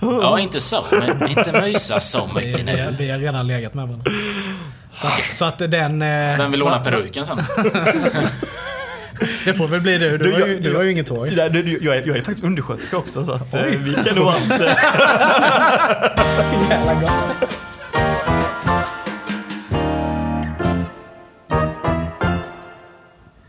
Ja, inte så. Men inte mysa så Vi, mycket vi, nu. vi har redan legat med varandra. Så att, så att den... eh, Vem vill låna peruken sen? Det får väl bli du. Du, Du, har, ju, jag- du har ju inget hår. Nej, du, du, jag, är, jag är faktiskt undersköterska också så att eh, vi kan nog allt. eh. Jävla gott.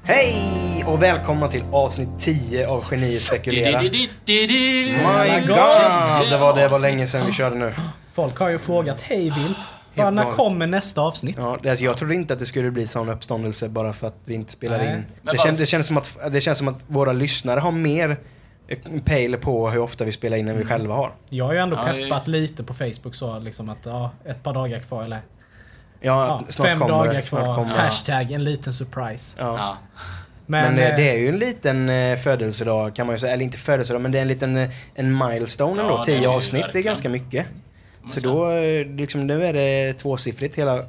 Hej och välkomna till avsnitt 10 av Geniet spekulerar. My My god! Det var, det var länge sedan vi körde nu. Folk har ju frågat hej vilt. Bara, Helt när galet. kommer nästa avsnitt? Ja, det, alltså, jag trodde inte att det skulle bli sån uppståndelse bara för att vi inte spelade Nej. in. Men Det, kän, varför- det, känns som att, det känns som att våra lyssnare har mer eh, pejl på hur ofta vi spelar in än vi Mm. själva har. Jag har ju ändå Ja, det- peppat lite på Facebook så liksom att ja, ett par dagar kvar eller Ja, ja, snart fem kommer dagar det, snart kvar. kommer det. Hashtag en liten surprise. Ja. Ja. Men, Men, eh, eh, det är ju en liten eh, födelsedag kan man ju säga. Eller inte födelsedag men det är en liten eh, en milestone Ja, ändå. det är ju 10 avsnitt det är verkligen. ganska mycket. Så sen- då eh, liksom, nu är det tvåsiffrigt hela eh,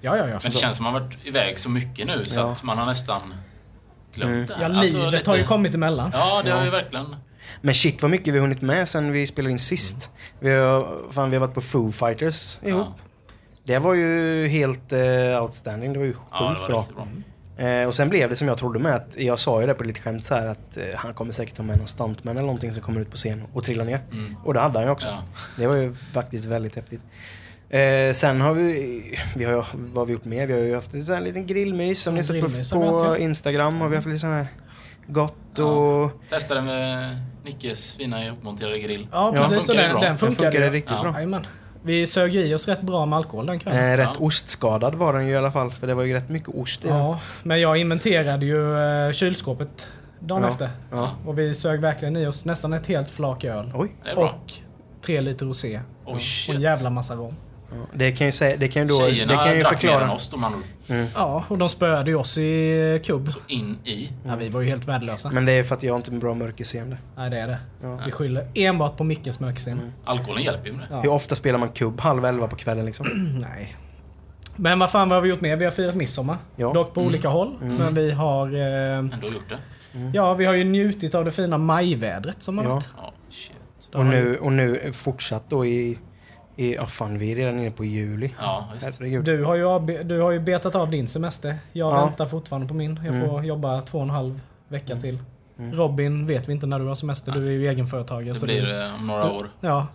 ja, ja, ja. Men det känns som att man varit iväg så mycket nu så Ja. Mm. att man har nästan glömt det. här. Ja, livet Alltså, lite- har ju kommit emellan. Ja, det har ju verkligen. Men shit vad mycket vi har hunnit med sen vi spelade in sist. Vi har, fan, vi har varit på Foo Fighters ihop. Mm. Ja, Det var ju helt eh, outstanding. Det var ju sjukt ja det var bra. riktigt bra. Eh, och sen blev det som jag trodde med att jag sa ju det på lite skämt så här att eh, han kommer säkert ha med någon stuntman eller någonting som kommer ut på scen och trillar ner. Mm. Och det hade han ju också. Ja. Det var ju faktiskt väldigt häftigt. Eh, sen har vi, vi har, ju- vad har vi gjort mer? Vi har ju haft en sån här liten grillmys som En ni har sett grillmys på, har vi haft, på ja. Instagram. Har vi haft lite sån här gott Ja. och... Testade med Nickes fina ihopmonterade grill. Ja, Ja, precis. funkar Så det den, bra? den Den Den funkade funkade ju. riktigt Ja. bra. Jajamän. Vi sög i oss rätt bra med alkohol den kvällen. Eh, rätt Ja. ostskadad var den ju i alla fall, för det var ju rätt mycket ost i den. Ja, men jag inventerade ju eh, kylskåpet dagen Ja. efter. Ja. Och vi sög verkligen i oss nästan ett helt flak öl. Oj. Det är bra. Och tre liter rosé. Oj, shit. Och en jävla massa rom. Ja. Det kan ju säga, det kan ju då... Tjejerna det kan ju drack mer än förklara. oss om man Ja, och de spöade ju oss i kubb. så in i. Ja, vi var ju helt värdelösa. Men det är för att jag har inte en bra mörkerseende. Nej, det är det. Mm. Ja. Vi skyller enbart på Mickes mörksinne. Mm. Alkoholen hjälper ju med det. Ja. Hur ofta spelar man kubb? Halv elva på kvällen liksom? Mm, Nej. Men vad fan vad har vi gjort mer? Vi har firat midsommar. Ja. Dock på olika håll. Men vi har... Eh, Ändå gjort det. ja, vi har ju njutit av det fina majvädret som har Ja. varit. Ja, shit. Och nu, och nu fortsatt då i... i ja fan, vi är redan inne på juli. Ja, visst. Herregud. Du har, ju, avbe- du har ju betat av din semester. Jag Ja. Mm. väntar fortfarande på min. Jag får jobba två och en halv vecka till. Robin vet vi inte när du har semester. Du är ju egenföretagare. Det så blir du, det om några år. ja.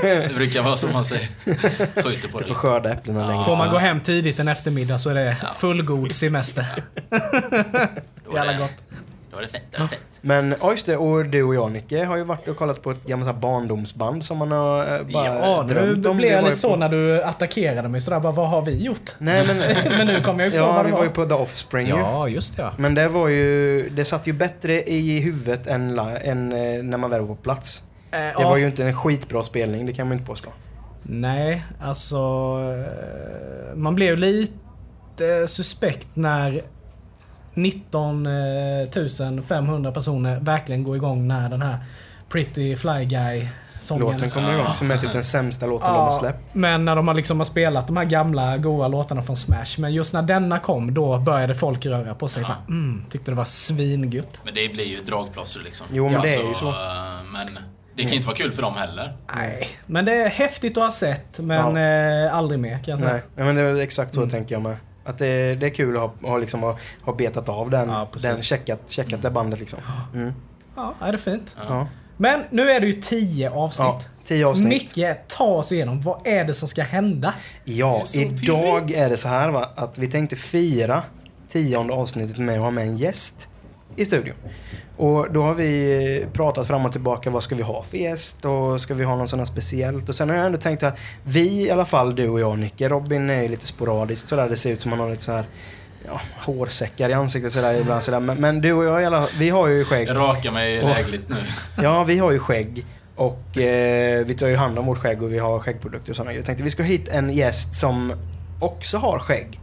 Det brukar vara som man säger. Skjuter på Du får det. skörda äpplena längre. Får man gå hem tidigt en eftermiddag så är det fullgod semester. Då är Jävla det, gott. då är det fett. Då är det fett. Men ja just det, och du och jag Nicke har ju varit och kollat på ett gammalt så här barndomsband som man har eh, bara Ja, nu drömt om. Vi blev jag var ju lite så på- när du attackerade mig sådär bara, vad har vi gjort? Nej men... Men nu kommer jag ju på ja, vad vi det var ju var. på The Offspring ju. Ja, just det ja. Men det var ju, det satt ju bättre i huvudet än, la, än eh, när man väl var på plats. Eh, Det ja. var ju inte en skitbra spelning, det kan man inte påstå. Nej, alltså... eh, Man blev ju lite suspekt när 19 eh, 500 personer verkligen går igång när den här Pretty Fly Guy-sången... Låten kommer igång som är typ den sämsta låten de har släppt. men när de har liksom har spelat de här gamla goa låtarna från Smash. Men just när denna kom, då började folk röra på sig. Bara, mm, tyckte det var svingött. Men det blir ju dragplåster liksom. Jo, men det är ju så. eh, Men det kan ju inte vara kul för dem heller. Nej. Men det är häftigt att ha sett, men eh, aldrig mer kan jag säga. Nej, nej, men det är exakt Mm. så tänker jag med. Att det, det är kul att ha, ha, liksom, ha, ha betat av den, Ja, precis. den checkat, checkat det bandet liksom. Mm. Ja, är det är fint. Ja. Men nu är det ju 10 avsnitt. Ja, tio avsnitt. Micke, ta oss igenom. Vad är det som ska hända? Ja, är så idag pirrigt. är det så här va, att vi tänkte fira tionde avsnittet med att ha med en gäst i studion. Och då har vi eh, pratat fram och tillbaka, vad ska vi ha för gäst och ska vi ha någon sån här speciellt? Och sen har jag ändå tänkt att vi i alla fall, du och jag Nicke, Robin är ju lite sporadiskt sådär, det ser ut som han har lite så här ja, hårsäckar i ansiktet sådär ibland sådär. Men, men du och jag i alla vi har ju skägg. Jag rakar mig Åh. lägligt nu. Ja, vi har ju skägg. Och eh, vi tar ju hand om vårt skägg och vi har skäggprodukter och sådana grejer. Jag tänkte vi ska ha hit en gäst som också har skägg.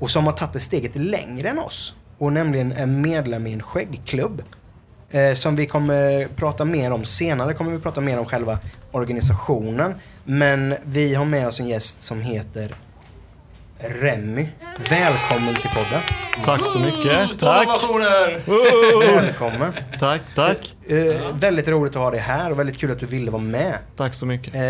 Och som har tagit det steget längre än oss. Och nämligen är medlem i en skäggklubb. Eh, som vi kommer prata mer om senare. kommer vi prata mer om själva organisationen. Men vi har med oss en gäst som heter eh, Remy. Välkommen till podden. Tack så mycket. Tack! Tack. Ovationer! Välkommen. Tack, tack. Eh, väldigt roligt att ha dig här och väldigt kul att du ville vara med. Tack så mycket. Eh,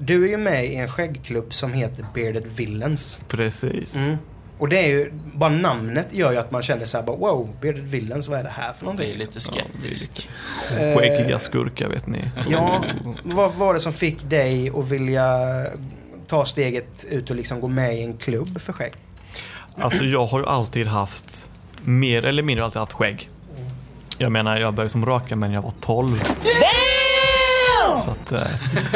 du är ju med i en skäggklubb som heter Bearded Villains. Precis. Mm. Och det är ju, bara namnet gör ju att man känner såhär bara wow, Bearded Villains, vad är det här för Man blir någonting? Eh, lite skeptisk. Skäggiga skurkar vet ni. Ja, vad var det som fick dig att vilja ta steget ut och liksom gå med i en klubb för skägg? Alltså jag har ju alltid haft, mer eller mindre alltid haft skägg. Jag menar, jag började som raka men jag var 12. Så att eh,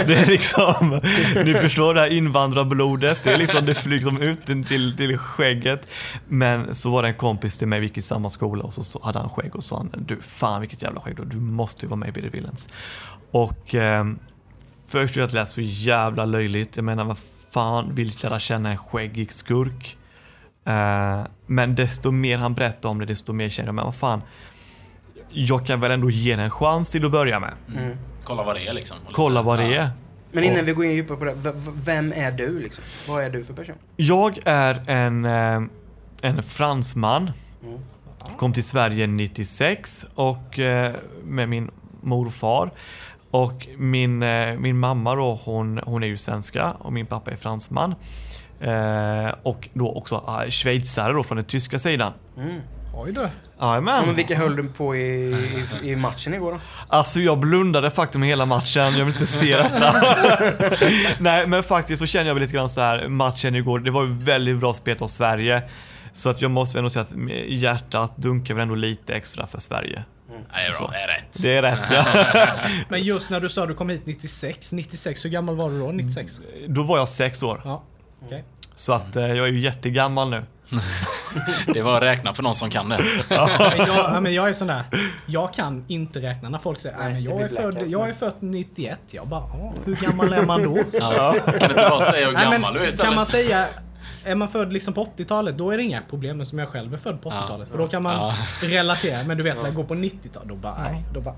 det är liksom, ni förstår det här invandrarblodet, det är liksom, det flyger liksom ut in till, till skägget. Men så var det en kompis till mig, vi gick i samma skola och så, så hade han skägg och sa han, du fan vilket jävla skägg du har, du måste ju vara med i Billy Villains. Och ehm, först gjorde jag ett läs för jävla löjligt, jag menar vad fan vill lära känna en skäggig skurk? Eh, men desto mer han berättade om det, desto mer kände jag, men vad fan. Jag kan väl ändå ge det en chans till att börja med. Mm. Kolla vad det är liksom. Och lite- Kolla vad det ja. är. Men innan vi går in djupare på det, v- v- vem är du liksom? Vad är du för person? Jag är en, eh, en fransman. Mm. Kom till Sverige 96 och eh, med min morfar. Och min, eh, min mamma då, hon, hon är ju svenska och min pappa är fransman. Eh, och då också eh, schweizare då från den tyska sidan. Oj då. Ja, men Jajamän. vilka höll du på i, i, i matchen igår då? Alltså jag blundade faktiskt med hela matchen, jag vill inte se detta. Nej men faktiskt så känner jag väl lite grann så här. matchen igår, det var ju väldigt bra spelat av Sverige. Så att jag måste väl ändå säga att hjärtat dunkar väl ändå lite extra för Sverige. Nej, det är bra. Det är rätt. Det är rätt ja. Men just när du sa du kom hit 96, 96, hur gammal var du då? 96? Då var jag sex år. Ja, okej. Så att eh, jag är ju jättegammal nu. Det var att räkna för någon som kan det. Men jag, ja, men jag är sån där, jag kan inte räkna när folk säger Nej, Nej, men det jag, blir är född, blackout. jag är född 91. Jag bara, "Ja, hur gammal är man då? Ja. Kan du inte bara säga hur Nej, gammal men du är istället? kan man säga, är man född liksom på 80-talet, då är det inga problem. Men som jag själv är född på 80-talet, för då kan man Ja. relatera. Men du vet, när jag går på 90-talet, då bara, nej. Då bara,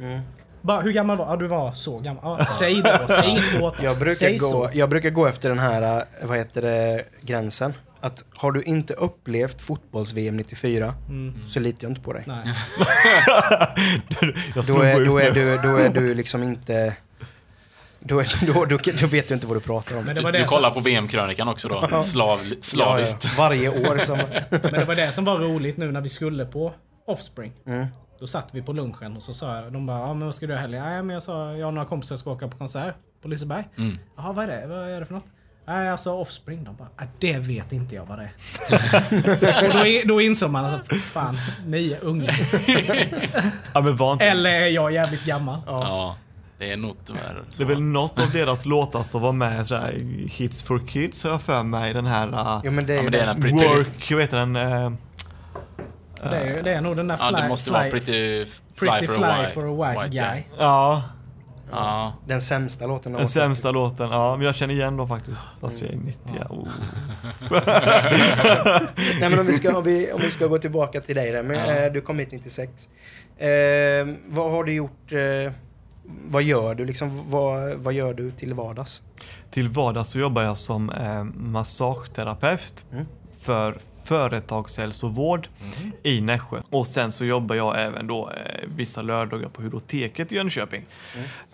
mm. bara, hur gammal var du? Ja, du var så gammal. Ja, säg det då, säg inget åt Jag Säg brukar, gå, så. jag brukar gå efter den här, eh, vad heter det, gränsen. Att har du inte upplevt fotbolls-VM 94 så litar jag inte på dig. Mm. Nej. Jag Då slog är, ut då, är nu. du, då är du liksom inte... Då, är, då, då, då vet du inte vad du pratar om. Men det Du, var det du som- kollar på VM-krönikan också då? Slav, slaviskt. Ja, ja. Varje år som... Men det var det som var roligt nu när vi skulle på Offspring. Då satt vi på lunchen och så sa jag, de bara, ja men vad ska du göra i helgen? Nej men jag sa, jag och några kompisar ska åka på konsert på Liseberg. Mm. Jaha, vad är det? Vad är det för något? Nej, alltså Offspring. De bara, "Ah, det vet inte jag vad det är. och då, i- då insåg man att, fan, ni är unga. Ja men var inte. Eller är jag jävligt gammal? Ja, det är nog tyvärr Det är väl något av deras låtar som var med sådär, Hits for Kids har jag för mig. Den här... eh, Ja, men det är, Ja, ju men det är den. den pretty... Work, vad heter den? eh, Det är, det är nog den där fly, Ja, det måste fly, vara pretty fly, pretty for, fly a white, for a white, guy. Ja, Ja, den sämsta låten. av Den oss. sämsta låten, ja men jag känner igen dem faktiskt. Fast vi är Oh. 90, ja. Oh. Nej, men om, vi ska, om, vi, om vi ska gå tillbaka till dig Remi. Eh, Du kom hit 96. Eh, vad har du gjort? Eh, vad gör du liksom? Vad, vad gör du till vardags? Till vardags så jobbar jag som eh, massageterapeut Mm. för företagshälsovård i Nässjö. Och sen så jobbar jag även då eh, vissa lördagar på Hydroteket i Jönköping.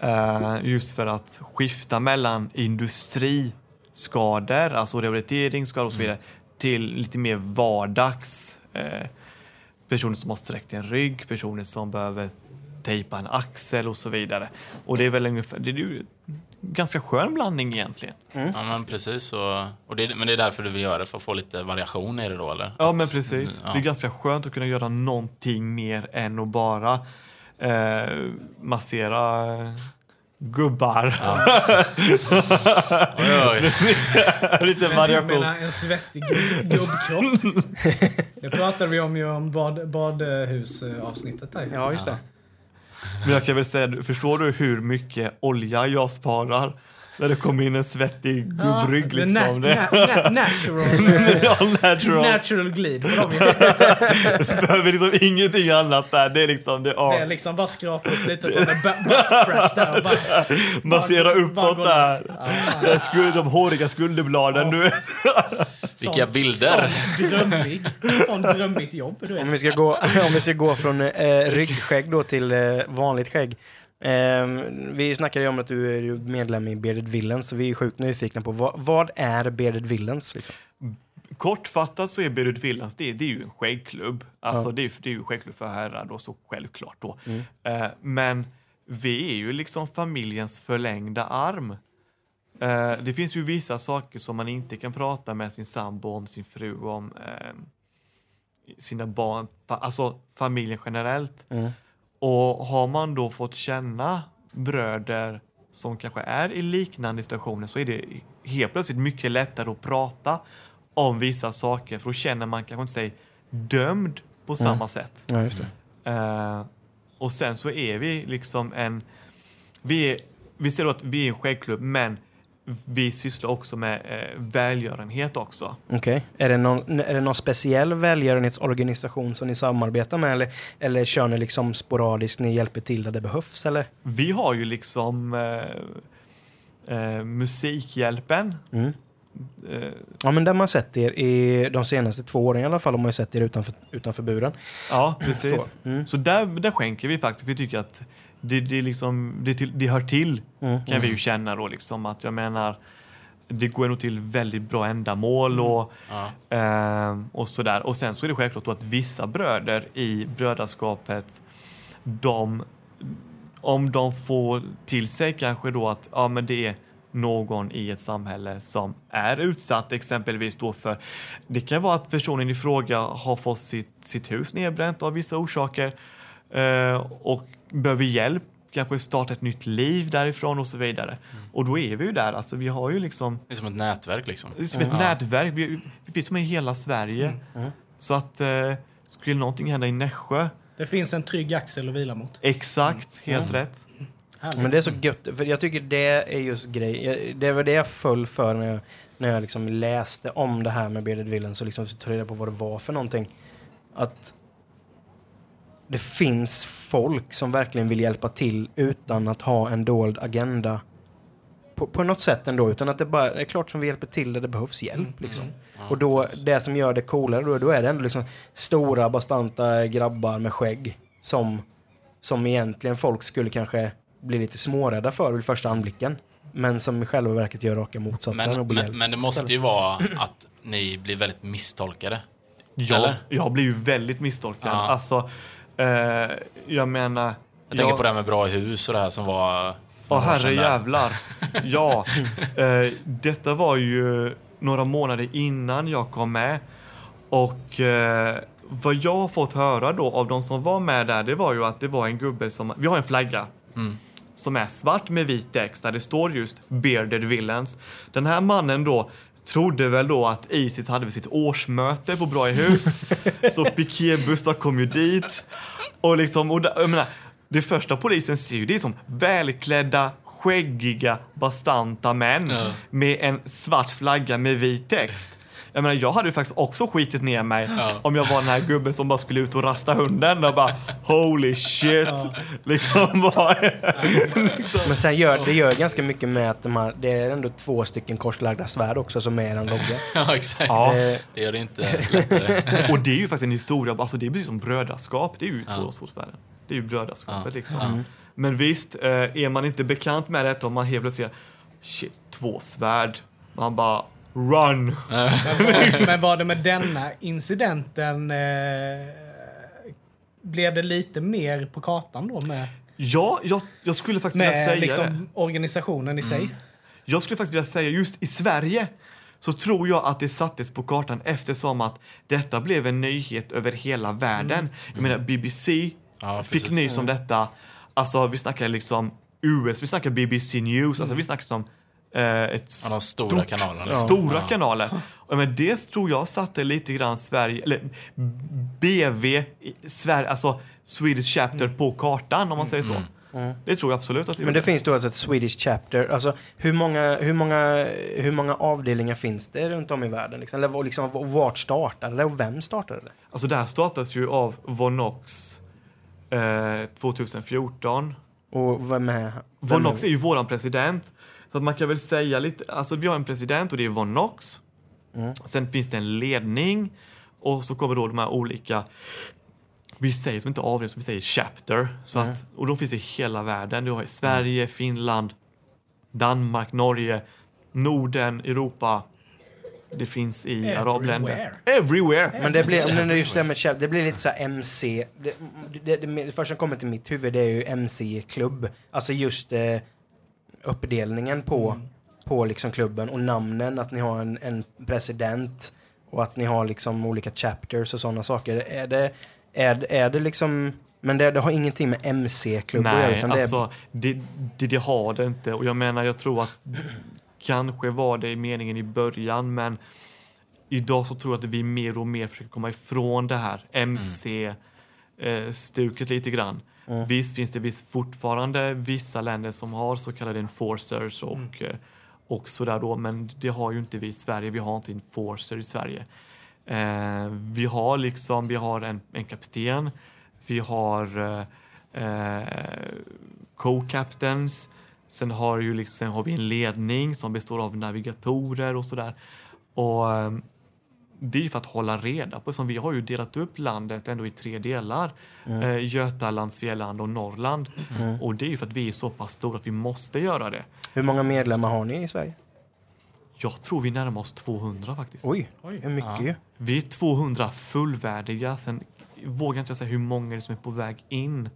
Eh, just för att skifta mellan industriskador, alltså rehabiliteringsskador och så vidare, till lite mer vardags eh, personer som har sträckt en rygg, personer som behöver tejpa en axel och så vidare. Och det är väl ungefär, det är ju en ganska skön blandning egentligen. ja, men precis. Och, och det, men det är därför du vill göra det, för att få lite variation i det då, eller? Ja men precis. eh, Ja. Det är ganska skönt att kunna göra någonting mer än att bara eh, massera gubbar. Oj, oj. Lite Jag variation. menar en svettig gubb- gubbkropp. Det pratade vi om ju om bad, badhusavsnittet här. Ja, just det. Men jag kan väl säga, förstår du hur mycket olja jag sparar Där det kom in en svettig Ja, gubbrygg det är liksom. nat- Det. na- na- natural, eh, Ja, natural. natural glid på dem ju. Du behöver liksom ingenting annat där. Det är liksom det Det är är liksom bara skrapa upp lite från en butt crack där och bara... Massera bara- bara uppåt gå där. loss. Ja, Det är skuld, de håriga skulderbladen. Du vet. Vilka bilder. Sån drömmig. Sån drömmigt jobb. Du Om vet. vi ska gå, om vi ska gå från eh, ryggskägg då till eh, vanligt skägg. Eh, vi snackade ju om att du är ju medlem i Bearded Villains, så vi är sjukt nyfikna på vad, vad är Bearded Villains? Liksom? Kortfattat så är Beirut Villas, det, det är ju en skäggklubb. Alltså det, är, det är ju en skäggklubb för herrar då, så självklart då. Eh, men vi är ju liksom familjens förlängda arm. Eh, det finns ju vissa saker som man inte kan prata med sin sambo om, sin fru om, ehm, sina barn, fa- alltså familjen generellt. Och har man då fått känna bröder som kanske är i liknande situationer så är det helt plötsligt mycket lättare att prata om vissa saker för då känner man kanske inte sig dömd på samma sätt. Ja, just det. Eh, och sen så är vi liksom en... Vi, är, vi ser då att vi är en skäggklubb men vi sysslar också med eh, välgörenhet också. Okej. Är, det någon- är det någon speciell välgörenhetsorganisation som ni samarbetar med eller, eller kör ni liksom sporadiskt, ni hjälper till där det behövs? Eller? Vi har ju liksom eh, eh, Musikhjälpen. Mm. Eh, Ja, men där man sett er i de senaste två åren i alla fall, har man ju sett er utanför, utanför buren. ja, precis. Så, mm. Så där, där skänker vi faktiskt. Vi tycker att det, det, är liksom, det, till, det hör till Mm. kan vi ju känna då liksom att jag menar det går nog till väldigt bra ändamål och Ja. Ehm, och sådär. Och sen så är det självklart då att vissa bröder i brödraskapet, de, om de får till sig kanske då att ja, men det är någon i ett samhälle som är utsatt exempelvis då för det kan vara att personen i fråga har fått sitt, sitt hus nedbränt av vissa orsaker eh, och behöver hjälp, kanske starta ett nytt liv därifrån och så vidare. Och då är vi ju där, alltså vi har ju liksom Det är som ett nätverk liksom. det är som ett nätverk. Vi, vi finns med i hela Sverige. Mm. Så att eh, skulle någonting hända i Nässjö, Det finns en trygg axel att vila mot. exakt, Mm. helt rätt. Härligt. Men det är så gött, för jag tycker det är just grej. jag- Det var det jag föll för när jag, när jag liksom läste om det här med Bearded Villains och liksom tog reda på vad det var för någonting. Att det finns folk som verkligen vill hjälpa till utan att ha en dold agenda. På, på något sätt ändå, utan att det bara det är klart som vi hjälper till där det behövs Mm, hjälp. Liksom. Och då, det som gör det coolare då, då är det ändå liksom stora bastanta grabbar med skägg som som egentligen folk skulle kanske bli lite smårädda för vid första anblicken. Men som i själva verket gör raka motsatsen och Men, blir men, hjälpta. men det måste ju vara att ni blir väldigt misstolkade. Jag, Eller? jag blir ju väldigt misstolkad. Ja. Alltså, eh, jag menar... Jag tänker på det här med bra hus och det här som var... Åh några år sedan herre där. jävlar. Ja, eh, detta var ju några månader innan jag kom med. Och eh, vad jag har fått höra då av de som var med där, det var ju att det var en gubbe som, vi har en flagga. Som är svart med vit text där det står just Bearded Villains. Den här mannen då trodde väl då att Isis hade sitt årsmöte på Bra i hus. så piketbussar kom ju dit. Och liksom, och där, jag menar, det första polisen ser ju det är som välklädda, skäggiga, bastanta män Ja. med en svart flagga med vit text. Jag menar, jag hade ju faktiskt också skitit ner mig Ja. om jag var den här gubben som bara skulle ut och rasta hunden och bara holy shit. Liksom bara, Men sen gör det gör ganska mycket med att de här, det är ändå två stycken korslagda svärd också som är en logga. ja, exakt. ja. Eh, Det gör det inte lättare. Och det är ju faktiskt en historia, alltså det är precis som brödraskap, det är ju tvåårsvärlden. Det är ju brödraskapet Ja. liksom. Men visst, eh, är man inte bekant med detta om man helt plötsligt ser, shit, två svärd. Man bara, run! Men var det med denna incidenten eh, blev det lite mer på kartan då med, Ja, jag, jag skulle faktiskt vilja säga med det. Mm. liksom organisationen i sig? Jag skulle faktiskt vilja säga just i Sverige så tror jag att det sattes på kartan eftersom att detta blev en nyhet över hela världen. Mm. Jag menar BBC Ja, fick precis. nys om Mm. detta. Alltså vi snackar liksom US, vi snackar BBC News, alltså vi Mm. snackar som eh, ett Ja, de stora stort- kanalerna. Stora Ja. kanaler. Och, men det tror jag satte lite grann Sverige, eller BV, i Sverige, alltså Swedish Chapter på kartan om man säger så. Mm. Det tror jag absolut att det Men det gjorde. finns då alltså ett Swedish chapter. Alltså, hur, många, hur, många, hur många avdelningar finns det runt om i världen? Liksom? Eller, vad- liksom, och vart startade det och vem startade det? Alltså det här startas ju av Vonox eh, 2014. Och vem är vem Vonox är- är ju våran president. Så att man kan väl säga lite, alltså vi har en president och det är Vonox. Mm. Sen finns det en ledning och så kommer då de här olika, vi säger som inte avdelning, så vi säger chapter. Så Mm. att, och de finns i hela världen. Du har i Sverige, Finland, Danmark, Norge, Norden, Europa. Det finns i arabländer. Everywhere! Men det blir, men det är just det här med chapter, det blir lite så här MC. Det, det, det, det första som kommer till mitt huvud det är ju MC-klubb. Alltså just eh, uppdelningen på, på liksom klubben och namnen, att ni har en, en president och att ni har liksom olika chapters och sådana saker. Är det, är, är det liksom, men det, det har ingenting med MC-klubb att göra Nej, utan alltså det, det, det har det inte. Och jag menar, jag tror att kanske var det i meningen i början, men idag så tror jag att vi mer och mer försöker komma ifrån det här MC-stuket eh, lite grann. Mm. Visst finns det visst fortfarande vissa länder som har så kallade enforcers och, eh, och sådär då, men det har ju inte vi i Sverige. Vi har inte enforcer i Sverige. Eh, vi har liksom, vi har en, en kapten, vi har eh, eh, co-captains, sen har, ju liksom, sen har vi en ledning som består av navigatorer och sådär. Och eh, det är ju för att hålla reda på, som vi har ju delat upp landet ändå i tre delar. Eh, Götaland, Svealand och Norrland. det, mm. Och det är ju för att vi är så pass stora att vi måste göra det. Hur många medlemmar har ni i Sverige? Jag tror vi närmar oss 200 faktiskt. Oj, Oj. hur mycket Ja. ju. Vi är 200 fullvärdiga. Sen vågar inte jag säga hur många det är som är på väg in.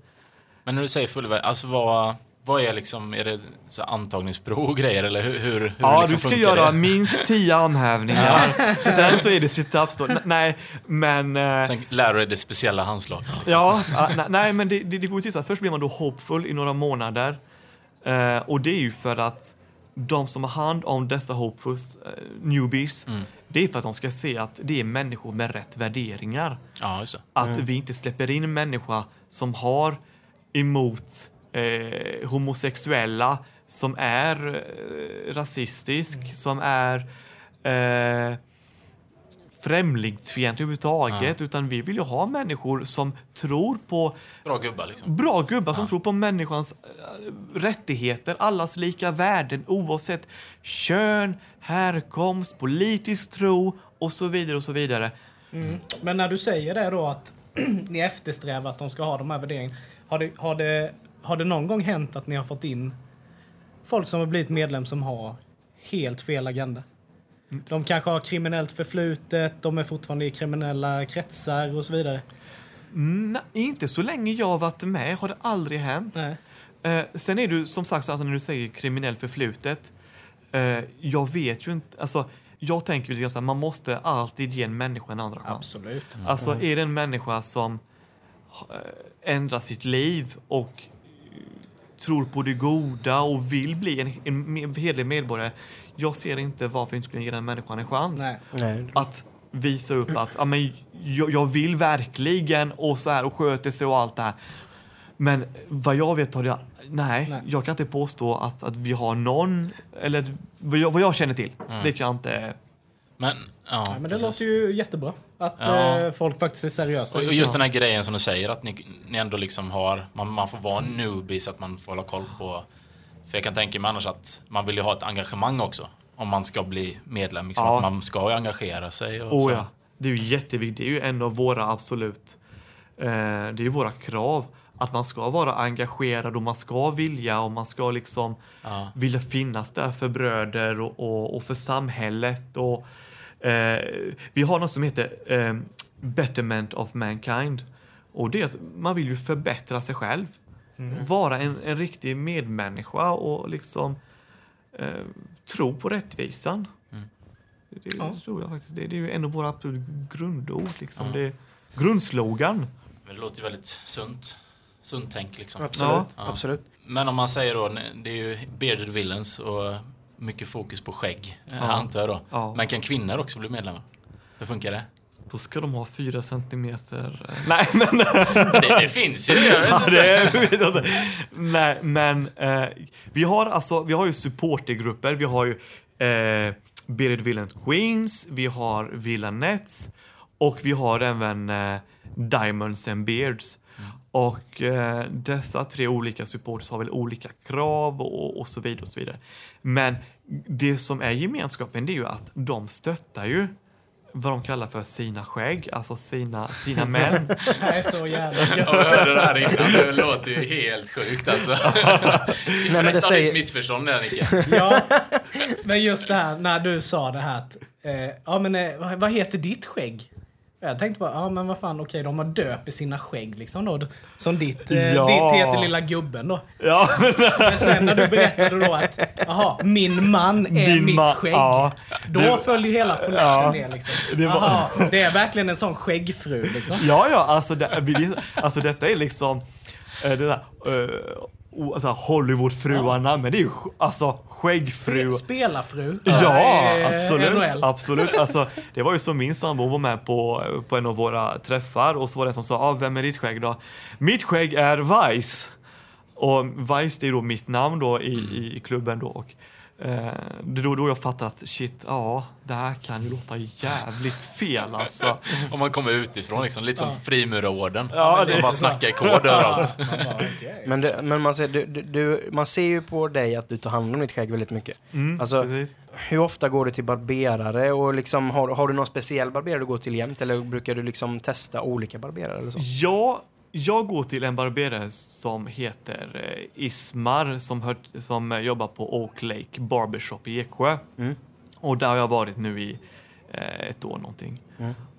Men när du säger fullvärdig, alltså vad, vad är liksom, är det så här antagningsprov och grejer eller hur, hur, hur Ja, liksom du ska funkar göra det? minst 10 armhävningar. Sen så är det situps då. N- Nej, men... eh, Sen lär du dig det speciella handslaget. Ja, ja, ne- nej men det, det, det går ju till så att först blir man då hoppfull i några månader. Eh, och det är ju för att de som har hand om dessa hopefuls, eh, newbies, det är för att de ska se att det är människor med rätt värderingar. Ja, just det. Att vi inte släpper in en människa som har emot eh, homosexuella, som är eh, rasistisk, som är eh, främlingsfientlig överhuvudtaget. Utan vi vill ju ha människor som tror på Bra gubbar liksom. bra gubbar som tror på människans eh, rättigheter, allas lika värden oavsett kön, härkomst, politisk tro och så vidare och så vidare. Mm. Men när du säger det då att ni eftersträvar att de ska ha de här värderingarna. Har det, har, det, har det någon gång hänt att ni har fått in folk som har blivit medlem som har helt fel agenda? De kanske har kriminellt förflutet, de är fortfarande i kriminella kretsar och så vidare. Nej, inte så länge jag har varit med har det aldrig hänt. Nej. Eh, sen är du som sagt, så alltså, när du säger kriminell förflutet. Eh, jag vet ju inte, alltså jag tänker lite grann så här, man måste alltid ge en människa en andra chans. Absolut. Mm. Alltså är det en människa som eh, ändrar sitt liv och eh, tror på det goda och vill bli en, en me- hederlig medborgare. Jag ser inte varför inte skulle ge den människan en chans Nej. Nej. att visa upp att ja, men, jag, jag vill verkligen och så här och sköter sig och allt det här. Men vad jag vet har jag, nej, Nej. jag kan inte påstå att, att vi har någon, eller vad jag, vad jag känner till. Mm. Det kan jag inte. Men, ja, Ja, men det precis. låter ju jättebra. Att Ja. eh, folk faktiskt är seriösa. Och och just den här grejen som du säger, att ni, ni ändå liksom har... Man, man får vara en newbie så att man får hålla koll på... För jag kan tänka mig annars att man vill ju ha ett engagemang också. Om man ska bli medlem, liksom, Ja. att man ska ju engagera sig. Och så. Oh, ja. Det är ju jätteviktigt, det är ju en av våra absolut, eh, det är ju våra krav. Att man ska vara engagerad och man ska vilja och man ska liksom Ja. vilja finnas där för bröder och, och, och för samhället. Och, eh, vi har något som heter eh, Betterment of Mankind. Och det är att man vill ju förbättra sig själv. Vara en, en riktig medmänniska och liksom eh, tro på rättvisan. Det Ja. tror jag faktiskt. Det, det är ju en av våra absolut grundord. Liksom. Det är grundslogan. Men det låter ju väldigt sunt. Sunt tänk liksom. Absolut, Ja. absolut. Men om man säger då, det är ju bearded villains och mycket fokus på skägg, eh, Ja. antar jag då. Ja. Men kan kvinnor också bli medlemmar? Hur funkar det? Då ska de ha fyra centimeter... eh, Nej, men... Det, det finns ju. Jag vet ja, inte. det är, vet jag inte. Nej, men eh, vi, har alltså, vi har ju supportergrupper. Vi har ju eh, Bearded Villain Queens, vi har Villanettes och vi har även eh, Diamonds and Beards. Och eh, dessa tre olika supporters har väl olika krav och, och så vidare. och så vidare. Men det som är gemenskapen det är ju att de stöttar ju vad de kallar för sina skägg, alltså sina, sina män. Det är så jävla gött. Ja, Jag hörde det här innan, det låter ju helt sjukt alltså. Nej, men det säger- ditt missförstånd där Nicke. Ja, men just det här när du sa det här att, eh, ja men eh, vad- vad heter ditt skägg? Jag tänkte bara, ja men vad fan, okej de har döpt i sina skägg liksom då. Som ditt, eh, Ja. ditt heter lilla gubben då. Ja, men Men sen när du berättade då att, jaha, min man är Din mitt man- skägg. ja. då Det- följer hela polletten Ja. ner liksom. Det var- Jaha, det är verkligen en sån skäggfru liksom. Ja, ja, alltså, det, vi- vi- alltså detta är liksom eh, det där, eh, o- alltså Hollywoodfruarna, men det är ju sk- alltså skäggfru. Spelarfru. Ja, Eh, absolut. NHL. absolut. Alltså, det var ju som min sambo hon var med på, på en av våra träffar och så var det en som sa, ah, vem är ditt skägg då? Mitt skägg är Vice. Och Vice det är då mitt namn då i, i, i klubben då. Och, eh, det är då, då jag fattar att shit, ja, det här kan ju låta jävligt fel alltså. Om man kommer utifrån liksom, lite som frimurarorden. Ja, Ja, det- man bara snackar i kod överallt. Man bara, okej. Men, det, men man, ser, du, du, du, man ser ju på dig att du tar hand om ditt skägg väldigt mycket. Mm, alltså, Precis. hur ofta går du till barberare? Och liksom, har, har du någon speciell barberare du går till jämt? Eller brukar du liksom testa olika barberare? Eller så? Ja, jag går till en barberare som heter eh, Ismar som, hör, som eh, jobbar på Oak Lake Barbershop i Eksjö. Mm. Och där har jag varit nu i eh, ett år någonting.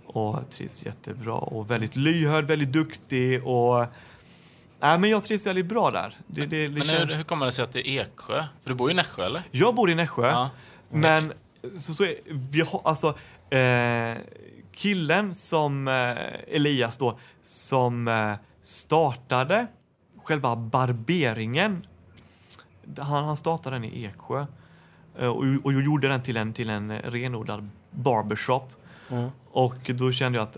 Och trivs jättebra och väldigt lyhörd, väldigt duktig och... Nej, men jag trivs väldigt bra där. Det, det, det Men känns... hur, hur kommer det sig att det är Eksjö? För du bor ju i Nässjö eller? Jag bor i Nässjö. Ja. Men så, så är, vi har alltså eh, killen som eh, Elias då som eh, startade själva barberingen. Han, han startade den i Eksjö eh, och, och gjorde den till en, till en renodlad barbershop. Och då kände jag att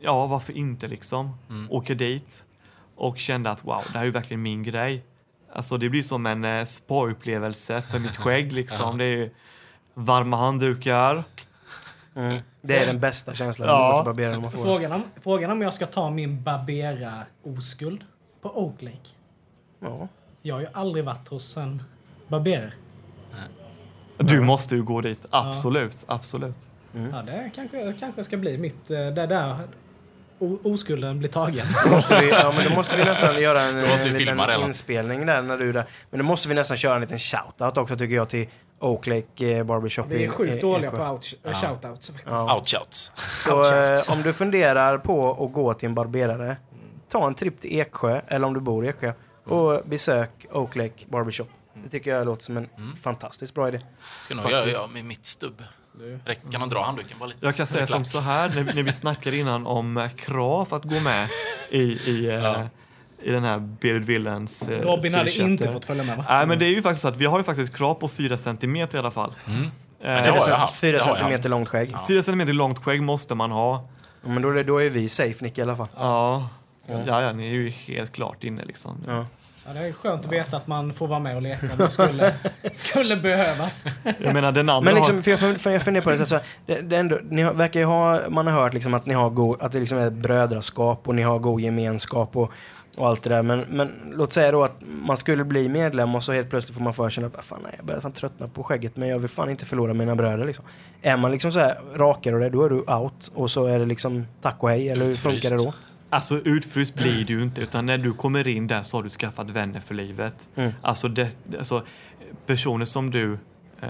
ja, varför inte liksom? Åker dit och kände att wow, det här är ju verkligen min grej. Alltså det blir som en eh, spa-upplevelse för mitt skägg liksom. Det är ju varma handdukar. Det är den bästa känslan Ja. att gå till barberaren man får. Frågan om, frågan om jag ska ta min Barbera-oskuld på Oak Lake. Ja. Jag har ju aldrig varit hos en barberare. Du måste ju gå dit, absolut, absolut. Ja, det kanske, kanske ska bli mitt... eh, Det där o, oskulden blir tagen. Då måste vi, ja, men då måste vi nästan göra en, måste vi en filma det, liten va? inspelning där när du är där. Men då måste vi nästan köra en liten shout-out också tycker jag till Oak Lake eh, Barbershop Vi är i- i- sjukt dåliga Eksjö. på out, shoutouts faktiskt. Ja. Outshouts. Så eh, om du funderar på att gå till en barberare, ta en tripp till Eksjö, eller om du bor i Eksjö, Mm. och besök Oak Lake Barbershop. Det tycker jag låter som en Mm. fantastiskt bra idé. Ska nog göra jag med mitt stubb. Räck- Kan man dra handduken bara lite? Jag kan säga som så här, när, när vi snackade innan om eh, krav att gå med i, i, eh, i den här Bearded Villains eh, Robin hade Swedish inte Chapter. fått följa med va? Nej men det är ju faktiskt så att vi har ju faktiskt krav på 4 centimeter i alla fall. Det har Eh, jag haft. Det Fyra har jag haft. centimeter långt skägg. 4 centimeter långt skägg måste man ha. Ja, Men då är, det, då är vi safe, Nick, i alla fall. Ja. Ja, ja, ni är ju helt klart inne liksom. Ja. Ja, det är skönt att veta att man får vara med och leka om det skulle, skulle behövas. Jag menar den andra har... Men liksom, för jag, fun- för jag funderar på det, alltså, det, det är ändå, ni har, verkar ju ha, man har hört liksom att ni har god, att det liksom är ett brödraskap och ni har god gemenskap och, och allt det där. Men, men låt säga då att man skulle bli medlem och så helt plötsligt får man för sig att "Ah, fan, nej, jag börjar fan tröttna på skägget men jag vill fan inte förlora mina bröder liksom. Är man liksom så här rakare och det, då är du out och så är det liksom tack och hej eller hur Utfryst. funkar det då? Alltså utfryst blir du ju inte utan när du kommer in där så har du skaffat vänner för livet. Mm. Alltså, det, alltså personer som du eh,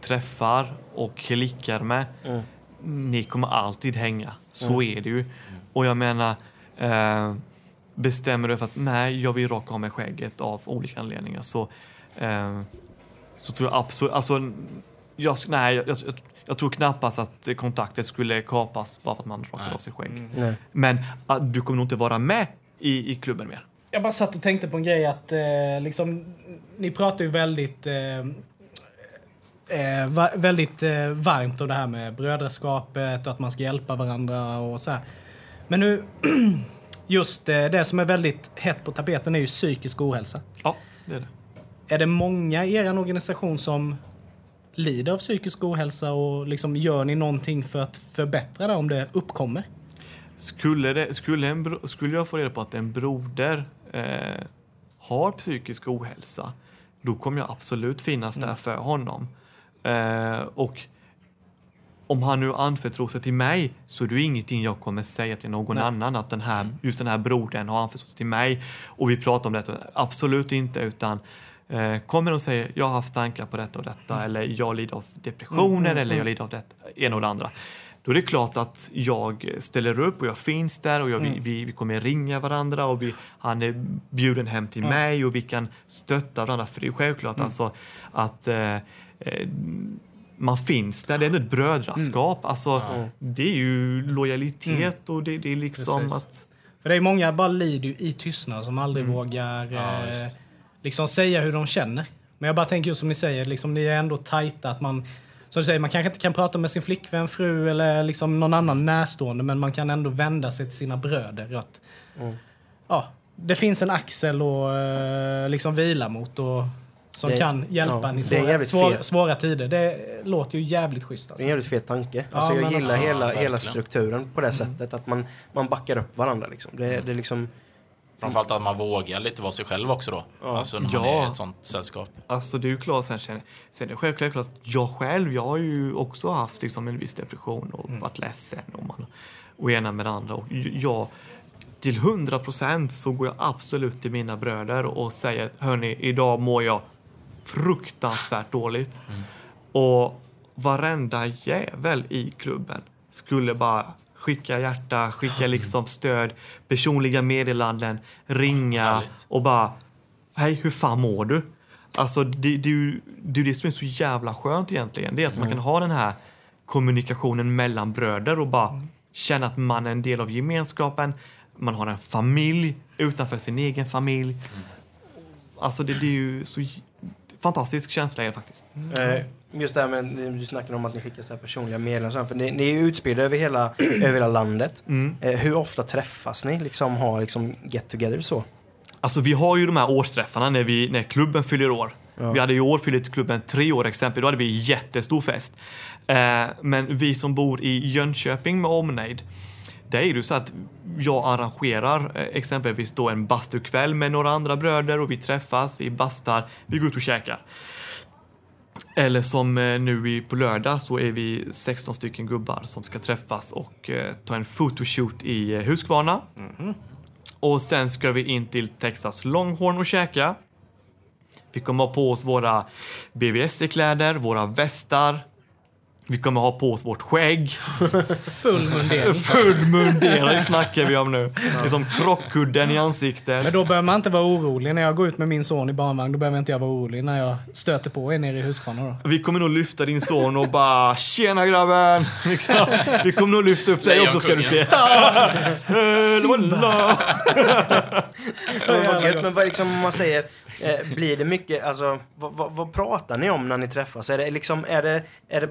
träffar och klickar med, Mm. ni kommer alltid hänga. Så är det ju. Och jag menar, eh, bestämmer du för att nej, jag vill raka av mig skägget av olika anledningar så, eh, så tror jag absolut, alltså jag, sk- nej, jag, jag, jag tror knappast att kontakten skulle kapas bara för att man rakar Nej. av sig skägg. Nej. Men ah, du kommer nog inte vara med i, i klubben mer. Jag bara satt och tänkte på en grej att eh, liksom, ni pratar ju väldigt eh, eh, va- väldigt eh, varmt om det här med brödraskapet och att man ska hjälpa varandra och så här. Men nu, just eh, det som är väldigt hett på tapeten är ju psykisk ohälsa. Ja, det är det. Är det många i er organisation som lider av psykisk ohälsa och liksom gör ni någonting för att förbättra det om det uppkommer? Skulle, det, skulle, en bro, skulle jag få reda på att en broder eh, har psykisk ohälsa, då kommer jag absolut finnas där för honom. Eh, och om han nu anförtror sig till mig så är det ju ingenting jag kommer säga till någon Nej. annan att den här, just den här brodern har anförtrott sig till mig och vi pratar om detta. Absolut inte, utan eh, kommer de och säger jag har haft tankar på detta och detta eller jag lider av depressioner eller jag lider av det ena och det andra. Då är det klart att jag ställer upp och jag finns där och jag, vi, vi, vi kommer ringa varandra och vi, han är bjuden hem till mig och vi kan stötta varandra. För det är självklart alltså att eh, eh, man finns där. Det är ändå ett brödraskap. Alltså, Det är ju lojalitet och det, det är liksom Precis. att... För det är många bara lider ju i tystnad som aldrig Mm. vågar Ja, eh, just. liksom säga hur de känner. Men jag bara tänker just som ni säger, liksom, ni är ändå tajta. Att man, som du säger, man kanske inte kan prata med sin flickvän, fru eller liksom någon annan närstående men man kan ändå vända sig till sina bröder. Att, Mm. ja, det finns en axel att eh, liksom vila mot och, som Det- kan hjälpa ja, en i det är svåra, jävligt svåra, fet. svåra tider. Det låter ju jävligt schysst. Det är Alltså. en jävligt fet tanke. Alltså men jag gillar också- Ja, hela, hela verkligen. strukturen på det sättet. Att man, man backar upp varandra. Liksom. Det, det är liksom... Framförallt att man vågar lite vara sig själv också då. Alltså när man Ja. är i ett sånt sällskap. Alltså det är ju klart, sen, sen, sen är det självklart klart, jag själv, jag har ju också haft liksom, en viss depression och varit ledsen och, man, och ena med det andra. Och jag, till 100 procent så går jag absolut till mina bröder och säger hörni, idag mår jag fruktansvärt dåligt. Och varenda jävel i klubben skulle bara skicka hjärta, skicka liksom stöd, personliga meddelanden, ringa Härligt. och bara Hej, hur fan mår du? Alltså det, det, är ju- det är ju det som är så jävla skönt egentligen. Det är att man kan ha den här kommunikationen mellan bröder och bara känna att man är en del av gemenskapen. Man har en familj utanför sin egen familj. Alltså det, det är ju så j- fantastisk känsla är det faktiskt. Eh, Just det här med, du snackade om att ni skickar så här personliga meddelanden och sånt, för ni, ni är ju utspridda över hela, över hela landet. Eh, Hur ofta träffas ni? Liksom har liksom get together så? Alltså vi har ju de här årsträffarna när, vi, när klubben fyller år. Vi hade i år fyllt klubben tre år exempel, då hade vi jättestor fest. Eh, men vi som bor i Jönköping med omnejd, där är det ju så att jag arrangerar eh, exempelvis då en bastukväll med några andra bröder och vi träffas, vi bastar, vi går ut och käkar. Eller som eh, nu i- på lördag så är vi 16 stycken gubbar som ska träffas och eh, ta en photoshoot i eh, Huskvarna. Och sen ska vi in till Texas Longhorn och käka. Vi kommer ha på oss våra BVSD-kläder, våra västar. Vi kommer ha på oss vårt skägg. Full mundering. Fullmunderade snackar vi om nu. Det är som krockkudden i ansiktet. Men då behöver man inte vara orolig. När jag går ut med min son i barnvagn, då behöver inte jag vara orolig när jag stöter på er nere i Huskvarna. Då. Vi kommer nog lyfta din son och bara “Tjena grabben!” liksom. Vi kommer nog lyfta upp dig också ska du se. Eh, Simba. Men vad gött, men vad liksom om man säger, eh, blir det mycket, alltså vad, vad, vad pratar ni om när ni träffas? Är det liksom, är det, är det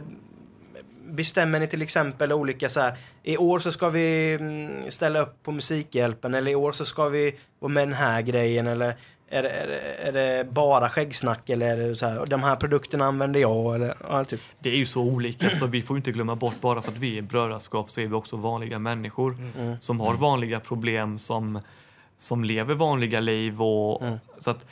Bestämmer ni till exempel olika så här, i år så ska vi mm, ställa upp på Musikhjälpen eller i år så ska vi vara med den här grejen eller är det, är det, är det bara skäggsnack eller är det så här, de här produkterna använder jag eller ja, typ. Det är ju så olika så vi får ju inte glömma bort bara för att vi är brödraskap så är vi också vanliga människor som har vanliga problem som, som lever vanliga liv och så att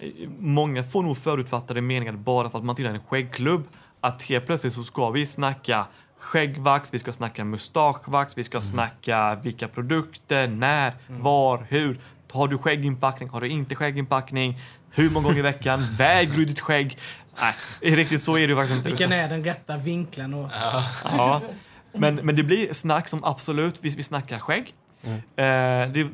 eh, många får nog förutfattade meningar bara för att man tillhör en skäggklubb att helt plötsligt så ska vi snacka skäggvax, vi ska snacka mustaschvax, vi ska snacka vilka produkter, när, var, hur. Har du skägginpackning? Har du inte skägginpackning? Hur många gånger i veckan? Väger du ditt skägg? Nej, riktigt så är det ju faktiskt inte. Vilken är den rätta vinkeln? Och, Ja. Men, men det blir snack som absolut, vi, vi snackar skägg. Eh, det,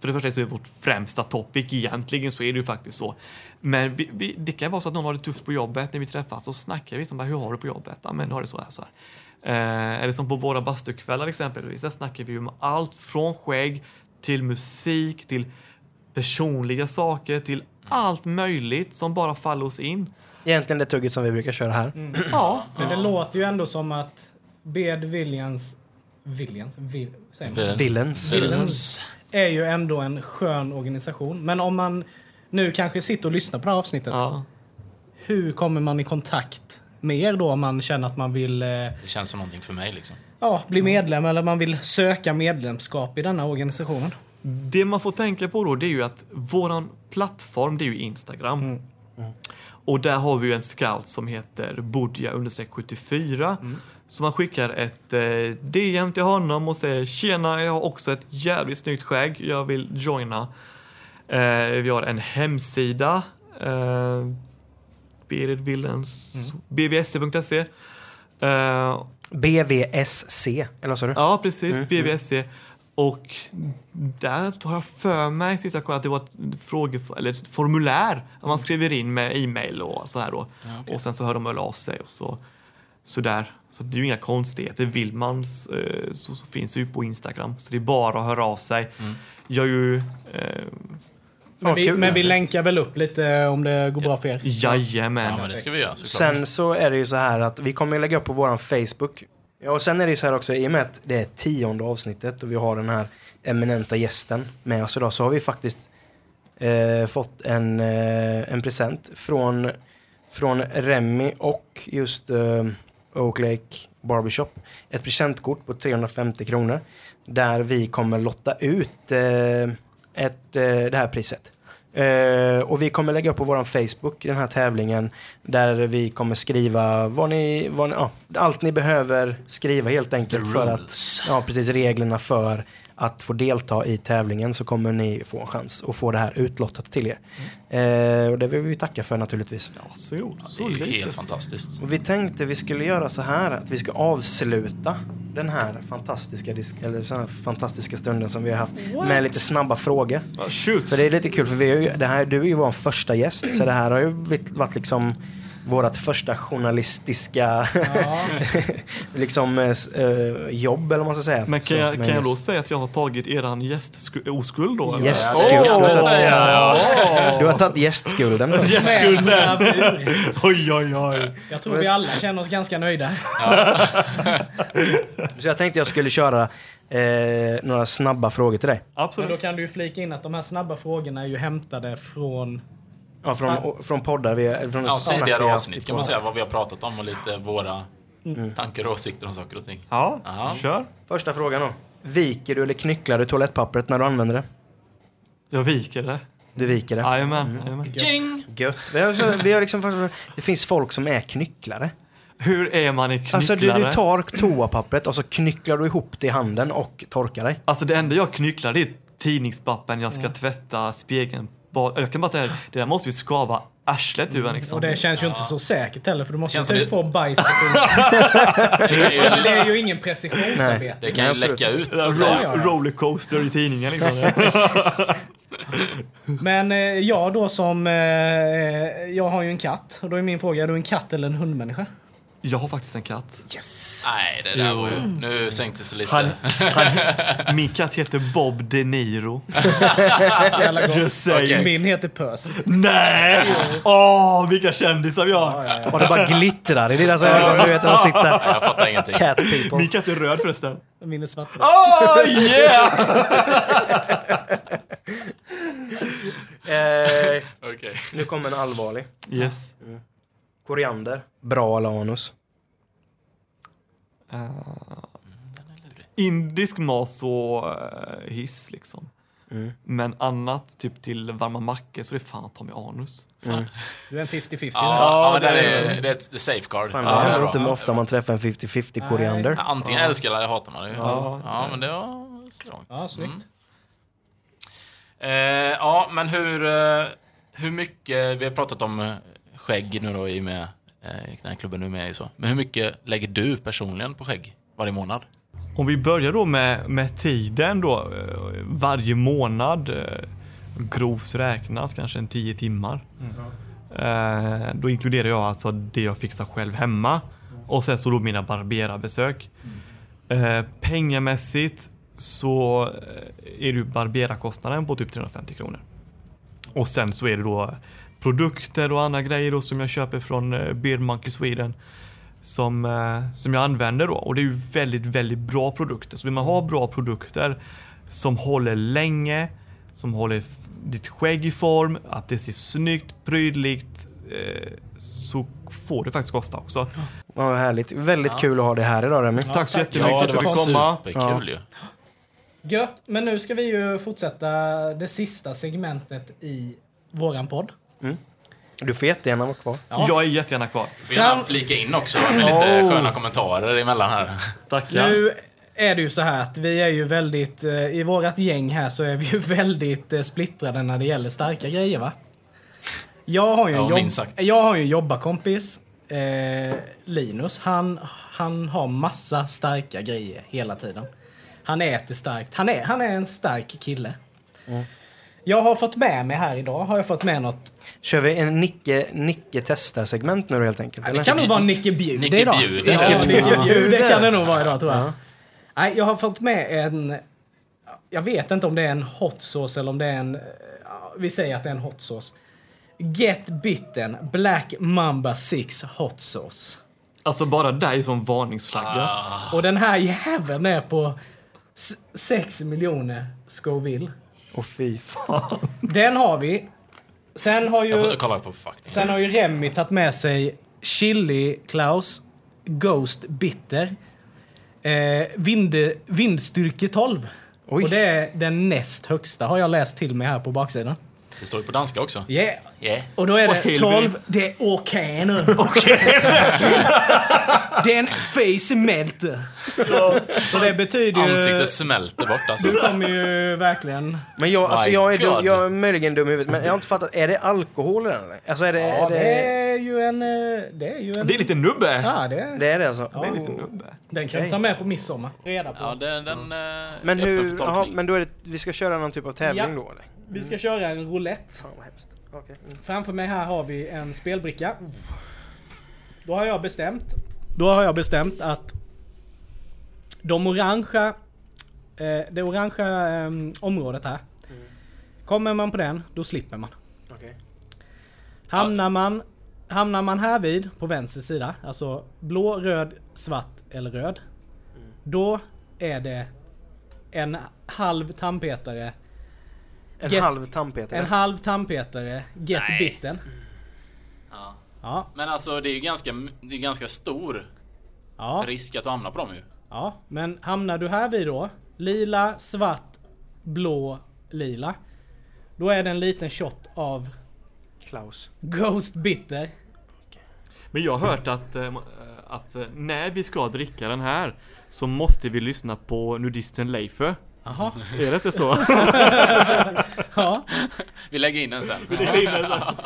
för det första så är det vårt främsta topic egentligen, så är det ju faktiskt så. Men vi, vi, det kan vara så att någon har det tufft på jobbet när vi träffas, så snackar vi som bara, hur har du på jobbet? Ja men har det så här, så här. Eh, eller som på våra bastukvällar exempelvis, där snackar vi ju om allt från skägg till musik, till personliga saker, till allt möjligt som bara faller oss in. Egentligen det tugget som vi brukar köra här. Ja, Men det låter ju ändå som att Bed Williams... Williams? Vil, säger man? Villains. Villains. Villains. är ju ändå en skön organisation. Men om man nu kanske sitter och lyssnar på det här avsnittet. ja. Hur kommer man i kontakt med er då om man känner att man vill eh, Det känns som någonting för mig liksom. ja, bli medlem eller man vill söka medlemskap i denna organisationen? Det man får tänka på då det är ju att våran plattform det är ju Instagram. Mm. Och där har vi ju en scout som heter Bodja 74. Så man skickar ett eh, DM till honom och säger tjena, jag har också ett jävligt snyggt skägg, jag vill joina. Eh, vi har en hemsida. Eh, Beritvillains- bvsc.se. E. Eh, BVSC, eller vad sa du? Ja, precis. Mm. BVSC. Och där har jag för mig sist jag kollade att det var ett, fråge, eller ett formulär man skriver in med e-mail och så här då. Och sen så hör de väl av sig och så, så där. Så det är ju inga konstigheter. Vill man s- eh, så, så finns det ju på Instagram. Så det är bara att höra av sig. Mm. Jag är ju... Eh, Men vi, kul. men vi länkar väl upp lite om det går bra för er. jajamän. Ja, men det ska vi göra såklart. Sen så är det ju så här att vi kommer ju lägga upp på våran Facebook. Ja, och sen är det ju så här också, i och med att det är tionde avsnittet och vi har den här eminenta gästen med oss idag så har vi faktiskt eh, fått en, eh, en present från, från Remy och just eh, Oak Lake Barbershop. Ett presentkort på 350 kronor där vi kommer lotta ut eh, ett, eh, det här priset. Eh, och vi kommer lägga upp på vår Facebook den här tävlingen där vi kommer skriva vad ni, vad ni, ja, allt ni behöver skriva helt enkelt för att, ja precis reglerna för att få delta i tävlingen så kommer ni få en chans och få det här utlottat till er. Eh, och det vill vi tacka för naturligtvis. Varsågod. Det Så är ju lite. helt fantastiskt. Och vi tänkte vi skulle göra så här att vi ska avsluta den här fantastiska, disk- eller så här fantastiska stunden som vi har haft med lite snabba frågor. Ja, Shoot! För det är lite kul för vi är ju, det här, du är ju vår första gäst så det här har ju blivit- varit liksom vårt första journalistiska liksom, eh, s- eh, jobb eller vad man ska säga. Men kan Så, jag, med kan jag då gäst. säga att jag har tagit eran gästoskuld då? eller? Gästskuld. Ja, det kan man säga, Du har tagit gästskulden. då. Gästskulden! oj, oj, oj. Jag tror vi alla känner oss ganska nöjda. Så jag tänkte jag skulle köra eh, några snabba frågor till dig. Men då Absolut. kan du ju flika in att de här snabba frågorna är ju hämtade från... Ja, från, o- från poddar vi från Ja, snack vi tidigare haft i avsnitt kan man säga vad vi har pratat om och lite våra tankar och åsikter om saker och ting. Ja, Ja. kör. Första frågan då. Viker du eller knycklar du toalettpappret när du använder det? Jag viker det. Du viker det. Jajamän. Mm. jajamän. Jing! Gött. Vi har, så- vi har liksom, faktiskt- det finns folk som är knycklare. Hur är man i knycklare? Alltså du, du tar toapappret och så knycklar du ihop det i handen och torkar dig. Alltså, det enda jag knycklar det är tidningspappen jag ska tvätta spegeln. Bara- Jag kan bara säga, det där måste vi skava arslet ur en, liksom. Och det känns ju inte så säkert heller för du måste Känns ju som typ det- få bajs på Det kan ju, Det är ju ingen precisionsarbete. det kan ju läcka ut så att Ro- säga. ja, ja. Rollercoaster i tidningen liksom. Men eh, jag då som... Eh, jag har ju en katt. Och då är min fråga, är du en katt eller en hundmänniska? jag har faktiskt en katt. Nej, det där var ju... Nu sänktes det Han, lite. han, min katt heter Bob De Niro. Jävla gott. Jag säger Okej. Min heter Percy. nej! Åh, vilka kändisar vi har! Och det bara glittrar i deras ögon. Du vet, de sitter... Nej, jag fattar ingenting. Cat Min people. katt är röd förresten. Min är svart. Åh, yeah! Eh, Okej. nu kommer en allvarlig. Yes. Koriander. Bra eller anus? indisk mat så eh, hiss liksom. Men annat, typ till varma mackor, så det är fan ta mig anus. Du är en 50-50. Ja, ja, Ja, det, det är, det är ett safeguard. Fan, Ja, det det är händer bra. inte ofta man träffar en 50-50 koriander. Ja, Antingen älskar eller hatar man det ju. Ja, men det var strångt. Ja, snyggt. Eh, ja, men hur, eh, hur mycket... Vi har pratat om eh, skägg nu då i och med eh, den här klubben nu med i så. Men hur mycket lägger du personligen på skägg varje månad? Om vi börjar då med, med tiden då, eh, varje månad, eh, grovt räknat kanske en 10 timmar. Eh, Då inkluderar jag alltså det jag fixar själv hemma och sen så då mina barberarbesök. Eh, Pengamässigt så eh, är det ju barberarkostnaden på typ 350 kronor. Och sen så är det då produkter och andra grejer då som jag köper från eh, Beard Monkey Sweden. Som, eh, som jag använder då. Och det är ju väldigt, väldigt bra produkter. Så vill man ha bra produkter som håller länge, som håller f- ditt skägg i form, att det ser snyggt, prydligt. Eh, så får det faktiskt kosta också. Ja, vad härligt. Väldigt kul att ha det här idag Remi. tack så tack. jättemycket Ja, för det att du var fick komma. superkul ju. Gött, men nu ska vi ju fortsätta det sista segmentet i våran podd. Du får jättegärna vara kvar. Ja. Jag är jättegärna kvar. Får gärna Fram- flika in också med lite Oh. sköna kommentarer emellan här. Tackar. Nu är det ju så här att vi är ju väldigt, eh, i vårat gäng här så är vi ju väldigt eh, splittrade när det gäller starka grejer va? Jag har ju en, Ja, jobb, minst sagt. jag har ju en jobbarkompis, eh, Linus, han, han har massa starka grejer hela tiden. Han äter starkt, han är, han är en stark kille. Mm. Jag har fått med mig här idag, har jag fått med något Kör vi en Nicke, Nicke testar-segment nu helt enkelt? Det kan nog vara Nicke Nicke Bjude idag. Bjuder. Ja, Nicke Nicke Bjude. Bjuder. Det kan det nog vara idag tror jag. Nej, jag har fått med en... Jag vet inte om det är en hot sauce eller om det är en... ja, Vi säger att det är en hot sauce. Get bitten Black Mamba 6 hot sauce. Alltså bara dig som varningsflagga. Och den här jäveln är på 6 miljoner Scoville. Och fy fan. Den har vi. Sen har Jag får ju, kolla på förpackningen. sen har ju Remi tagit med sig Chili Klaus Ghost Bitter. Eh, vind, vindstyrke 12. Oj. Och det är den näst högsta har jag läst till mig här på baksidan. Det står ju på danska också. Yeah. Yeah. Och då är Åh, det helvete. 12, det är okej nu. det är en face melter. Så det betyder ju... Ansiktet smälter bort alltså. Du kommer ju verkligen... Men jag, alltså, My jag, är dum, God. jag är möjligen dum i huvudet, men jag har inte fattat. Är det alkohol i den eller? Alltså är det... Ja, är det, det är ju en... eh, Det är ju en... Det är lite nubbe. Ja, det är... det är det alltså? Det är lite nubbe. Den kan du ta med på midsommar. Reda på. Ja, den, den eh, Men är öppen hur... för Aha, tolkning. men då är det... Vi ska köra någon typ av tävling Ja. då eller? Vi ska köra en roulette. Fan vad hemskt. Okej. Mm. Framför mig här har vi en spelbricka. Då har jag bestämt. Då har jag bestämt att de orangea, eh, det orangea eh, området här. Kommer man på den, då slipper man. Okej. Hamnar man, hamnar man här vid på vänster sida, alltså blå, röd, svart eller röd. Då är det en halv tandpetare, En Get- halv tandpetare. en halv tandpetare, get Nej. bitten. Ja. Ja, Men alltså det är ju ganska, det är ganska stor ja, risk att du hamnar på dem ju. ja. Men hamnar du här vid då, lila, svart, blå, lila. Då är det en liten shot av Klaus. Ghost Bitter. Men jag har hört att, eh, att eh, när vi ska dricka den här så måste vi lyssna på nudisten Leifö. Jaha, Är det inte så? ja. Vi lägger in den sen.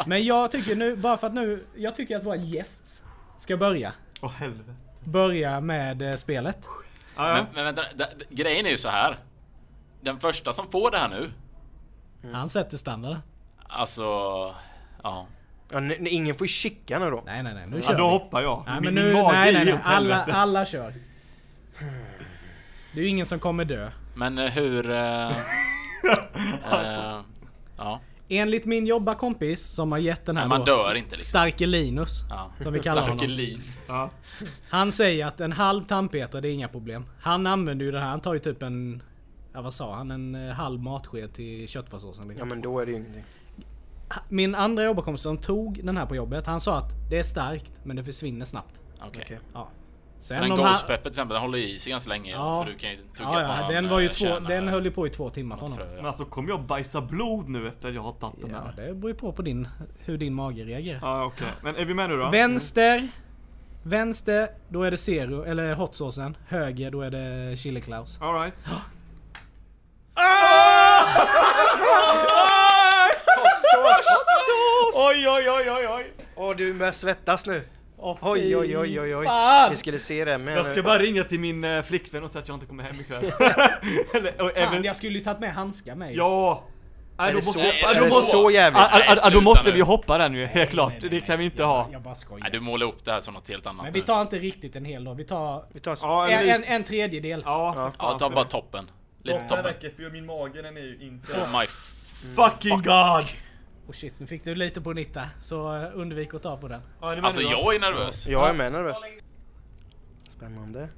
Men jag tycker nu, bara för att nu, jag tycker att våra gäst ska börja. Åh helvete. börja med eh, spelet. Ja, ja. Men, men vänta, d- d- grejen är ju så här. Den första som får det här nu, Mm. Han sätter standarden. alltså... Ja. Ja, n- n- ingen får ju kicka nu då. Nej, nej, nej. Nu ja, kör då vi. hoppar jag. Nej, Min men nu, mage nej, nej, är nej. helt Alla, helvete. alla kör. Det är ju ingen som kommer dö. Men eh, hur... Eh, Alltså. eh, ja. Enligt min jobbarkompis som har gett den här Men man då, dör inte liksom. Starke Linus, Ja. som vi kallar Starke honom. lin. Ja. Han säger att en halv tandpetare, det är inga problem. Han använder ju det här. Han tar ju typ en... Ja, vad sa han? En eh, halv matsked till köttfärssåsen. Ja Liksom. men då är det ju ingenting. Min andra jobbarkompis som tog den här på jobbet, han sa att det är starkt, men det försvinner snabbt. Okej. Okej. Ja. Men Sen en om han- Ghost Pepper till exempel, den håller i sig ganska länge. Ja. För du kan ju tugga Ja, på ja, någon, den, var ju eh, två, kärna den eller höll ju på i två timmar för något honom. frö. Men alltså kommer jag bajsa blod nu efter att jag har tagit den Ja, här? det beror ju på, på din, hur din mage reagerar. Ja okej. Men är vi med nu då? Vänster. Vänster, då är det zero, eller hotsåsen. Höger, då är det chili klaus. Alright. Oj oj oj oj oj. Åh du börjar svettas nu. Oh, Oj oj oj oj oj. Fan! Vi skulle se det med Jag nu. ska bara ringa till min eh, flickvän och säga att jag inte kommer hem ikväll. Eller, och Fan, även... jag skulle ju tagit med handskar med ju. Ja! Nej, Är då det måste, så, Nej, ja, är då det måste, Ah, så jävligt? ja, ja, ja, Nej, då måste sluta vi nu. hoppa den ju, helt klart. Nej, nej, Det nej, kan vi inte jag, ha. Jag bara skojar. Nej, du målar upp det här som något helt annat Men vi nu. tar inte riktigt en hel dag. Vi tar Vi tar en sp- Ja, en, eller- en, en tredjedel. Ja, för Ja, fan. ta bara toppen. Oh Lite Det toppen. räcker för min mage den är ju inte... Oh my Fucking god! Och shit, nu fick du lite på nitta. Så eh, undvik att ta på den. Ja, det Alltså menar du, va? jag är nervös. Jag är med nervös. Spännande.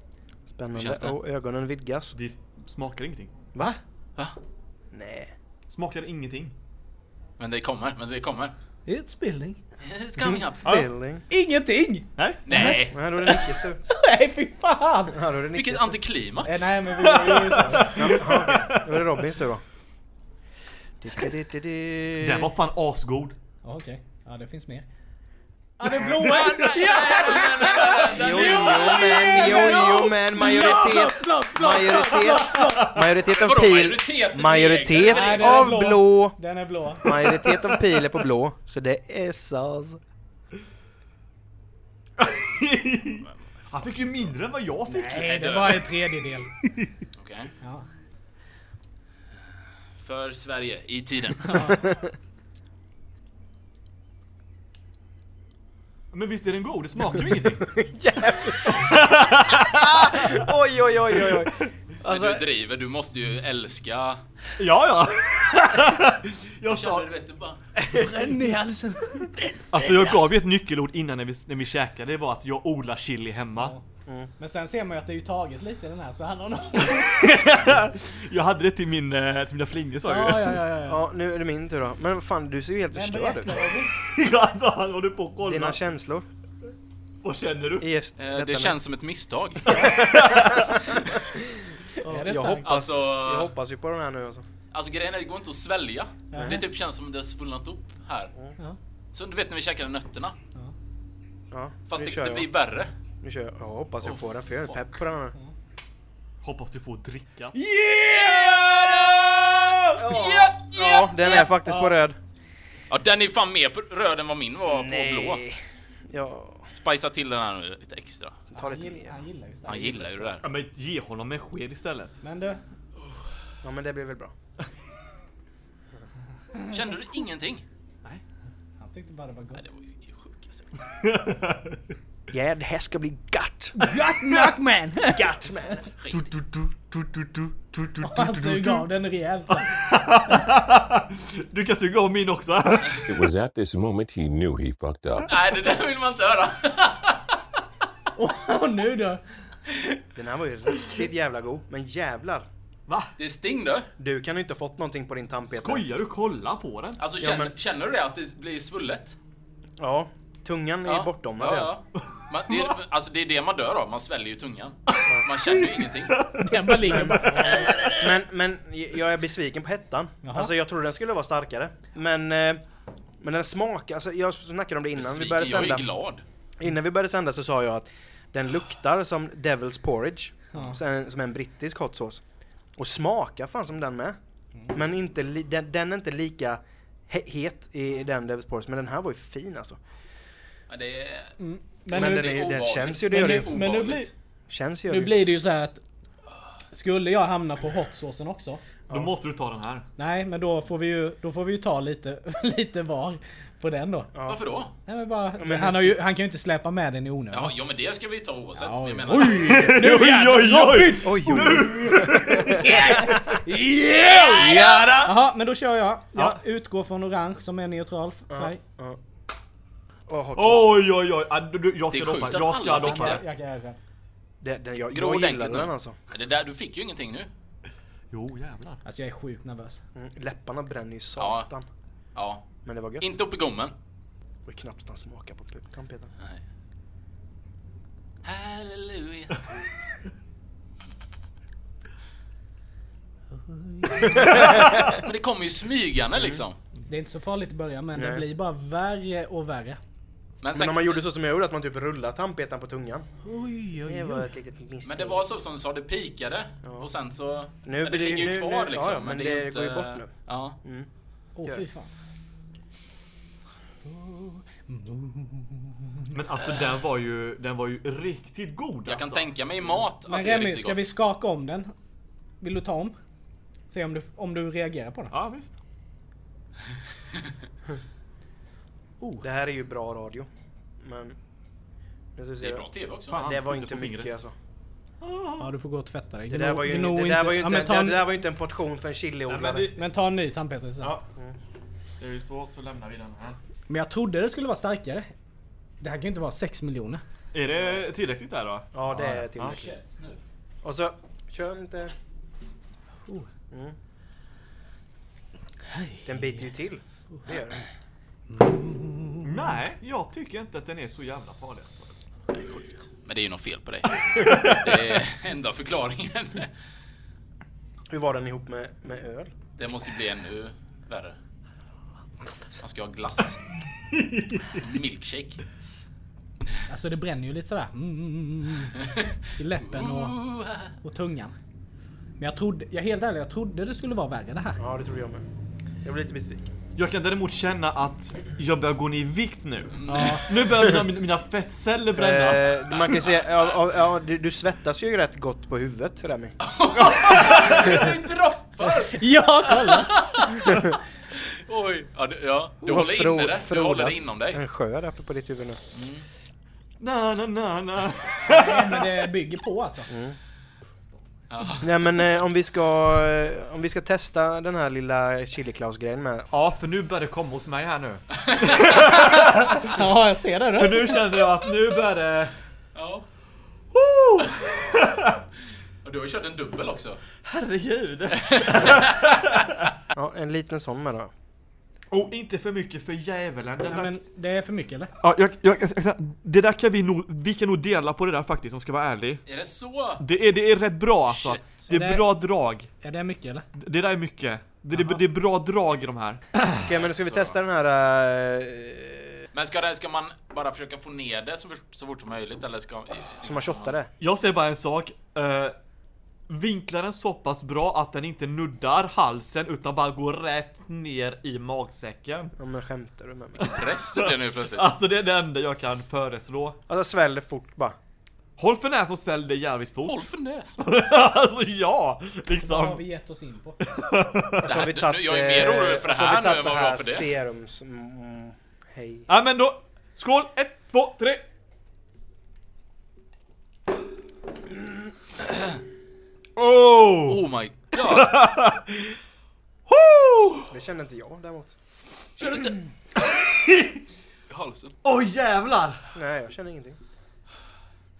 Spännande. Känns det? Och ögonen vidgas. Det smakar ingenting. Va? Va? Nej. Smakar ingenting. Men det kommer, men det kommer. It's building. It's coming up. Spilling. Ingenting! Nej. Nej! Nej, då är det Nickes tur. Nej, fy fan! Ja, då är det Nickes Vilket tur. antiklimax! Eh, nej, men vi var ju så. Då är det Robins tur då. Den var fan asgod. Ja, Okej. Ja, det finns mer. Ja, det blåa! Ja! Jo, jo, men, jo, jo, men majoritet. Slå, slå, slå. Majoritet. Majoritet av Vadå pil. majoritet? Majoritet Nej, det är av blå. blå. Den är blå. Majoritet av pil är på blå. Så det är SAS. Han fick ju mindre än vad jag fick. Nej, det var en tredjedel. Okej. Ja. För Sverige, i tiden. Men visst är den god? Det smakar ju ingenting. Oj, oj, oj, oj, oj. Alltså, Men du driver, du måste ju älska... Ja, ja. Jag sa... Känner du vet du bara... Bränn i halsen. Alltså jag gav ju ett nyckelord innan när vi, när vi käkade. Det var att jag odlar chili hemma. Men sen ser man ju att det är ju taget lite i den här, så han har nog... Jag hade det till, min, eh, till mina flingor sa jag Ja, ju. ja, ja, ja. Ja, nu är det min tur då. Men vad fan, du ser ju helt förstörd ut. Alltså han håller på och Dina kollar. känslor. Vad känner du? i just Eh, detta Det nu. känns som ett misstag. Är det Jag starkt? Alltså, Jag hoppas ju på den här nu alltså. alltså grejen är, det går inte att svälja. Det typ känns som det har svullnat upp här. Ja. Så du vet när vi käkade nötterna. Ja, Fast nu det, kör det jag. blir värre. Nu kör jag. Jag hoppas jag Oh, får den för jag är fuck. pepp på den här. Hoppas du får dricka. Ja, Ja, den är faktiskt på röd. Ja, den är fan mer på röd än vad min var på blå. Ja, Spicea till den här nu lite extra. ta Han lite gill- mer. han gillar ju starkt. Han gillar ju det där. Ja men ge honom en sked istället. Men du, Ja men det blir väl bra. Kände du ingenting? han tyckte bara det var gott. Nej, det var ju sjukt alltså. Ja, det här ska bli gött! Gott knock man! Gött man! Du, du, du, du, du, du, du, du, Han du, du, sög du. av den rejält. Du kan suga av min också. It was at this moment he knew he fucked up. Nej, det där vill man inte höra. Och nu då? Den här var ju riktigt jävla god. Men jävlar! Va? Det är sting du. Du kan ju inte ha fått någonting på din tand Peter. Skojar du? Kolla på den. Alltså Ja, känner, men- känner du det att det blir svullet? Ja. Tungan är bortom ja, den ja. Man, det, är, alltså det är det man dör av, man sväljer ju tungan. Man känner ju ingenting. Den bara ligger bara. Men, men jag är besviken på hettan. Jaha. Alltså jag trodde den skulle vara starkare. Men... eh, Men den smakar, alltså jag snackade om det innan vi Besviken, började jag sända. är glad. Innan vi började sända så sa jag att den luktar som Devil's Porridge. Ja. Sen, som en brittisk hot sauce. Och smakar fan som den med. Mm. Men inte li, den, den är inte lika he, het i den Devil's Porridge. Men den här var ju fin alltså. Ja, det är... Men, Men nu, den, är, den obehagligt. känns ju, det men, gör det nu, ju. men nu, blir, Obehagligt. Känns ju. nu det. blir det ju så här att skulle jag hamna på hotsåsen också Då måste du ta den här. Nej men då får vi ju, då får vi ju ta lite, lite var på den då. Varför då? Nej, men bara, men han, det- har ju, han kan ju inte släpa med den i onödan. Ja, ja men det ska vi ta oavsett. Ja, men jag ja. menar... Oj, oj, oj! Oj, oj, Mm. oj. Jaha, men då kör jag. Jag utgår från orange som är neutral färg. Åh, hot sauce. Oj, oj, oj. Ah, du, du, Jag Det är ska doppa. sjukt att Jag ska alla fick doppa. det. Jag kan göra det. Den, den, jag, Grå jag gillar ordentligt den nu. alltså. Det där, du fick ju ingenting nu. Jo, jävlar. Alltså jag är sjukt nervös. Mm, Läpparna bränner ju satan. Ja. Men det var gött. Inte upp i gommen. Det var knappt att han smakade på putan Peter. Halleluja. men det kommer ju smygande liksom. Det är inte så farligt i början men det Nej. blir bara värre och värre. Men, Men sen, om man gjorde så som jag gjorde, att man typ rullade tandpetaren på tungan. Oj, Det var ett litet misstag. men det var så som du sa, det pikade. Och sen så... Nu men det blir- ligger ju nu- kvar nu- liksom. ja, ja, men men det, är ju det inte, går ju bort nu. Ja. Åh fy fan. Men alltså den var ju, den var ju riktigt god Jag kan alltså. tänka mig i mat att Men det är Remy, riktigt ska gott. vi skaka om den? Vill du ta om? Se om du, om du reagerar på den. Ja, visst. Oh. Det här är ju bra radio. Men... Nu ska vi se. Det är bra TV också. Fan. Det var Inte inte på mycket fingret. alltså. Ja, du får gå och tvätta dig. Det där var ju, det där var ju, inte, men, ta det, en, där var ju inte en portion för en chiliodlare. Nej, men det- men ta en ny tandpetare sen. Ja. Det är ju så, så lämnar vi den här. Men jag trodde det skulle vara starkare. Det här kan ju inte vara 6 miljoner. Är det tillräckligt där då? Ja, det är tillräckligt. Ah, Shit, nu. Och så kör inte... Oh. Mm. Den biter ju till. Det gör den. Nej, jag tycker inte att den är så jävla farlig alltså. Men det är ju något fel på dig. Det är enda förklaringen. Hur var den ihop med, med öl? Det måste ju bli ännu värre. Man ska ha glass. Milkshake. Alltså det bränner ju lite sådär. Mm, mm, mm. I läppen och, Uh, och tungan. Men jag trodde, jag är helt ärlig, jag trodde det skulle vara värre det här. Ja, det trodde jag med. Jag blev lite besviken. Jag kan däremot känna att jag börjar gå ner i vikt nu. Mm. Ja, Nu börjar mina, mina fettceller brännas. Eh, man kan ju säga, ja, ja, ja, du, du svettas ju rätt gott på huvudet Remi. det droppar! ja kolla! Oj. Ja, du, ja. du Och håller fro- inne det. Du håller det frodas inom dig. En sjö där uppe på ditt huvud nu. Na, na, na, na. Nej, men det bygger på alltså. Nej men eh, om vi ska, eh, om vi ska testa den här lilla Chili Claus-grejen med. Ja, för nu börjar det komma hos mig här nu. Ja, jag ser det. För Då. nu kände jag att nu börjar det... Ja. Oh, Och du har ju kört en dubbel också. herregud! Ja, en liten sån med då. Och inte för mycket för djävulen. Den Nej, där... men det är för mycket eller? ja, jag, jag, jag, jag, det där kan vi nog... Vi kan nog dela på det där faktiskt, om jag ska vara ärlig. Är det så? Det är, det är rätt bra alltså. Shit. Det Det är där- bra drag. Är det mycket eller? Det- Det där är mycket. Det, det, det är bra drag i de här. Okej men nu ska vi Så. testa den här... eh, Men ska, det, ska man bara försöka få ner det så, fort- så fort som möjligt eller ska... som har shottade. Jag säger bara en sak. eh, vinkla den så pass bra att den inte nuddar halsen utan bara går rätt ner i magsäcken. Ja men skämtar du med mig? Press det blir nu plötsligt. Alltså det är det enda jag kan föreslå. Alltså sväll det fort bara. Håll för näsan och svälj det jävligt fort. Håll för näsan. alltså ja! Vad har Liksom. vi gett oss in på? Och så har vi Det här- tagit... nu- jag är mer orolig eh, för det och så har här nu vi tagit än vad jag var för det. Serums... Mm, hej. Ja men då. Skål! Ett, två, tre! Oh! Oh my god! Ho! Det kände inte jag däremot. Kör inte... I halsen. Åh jävlar! Nej jag känner ingenting.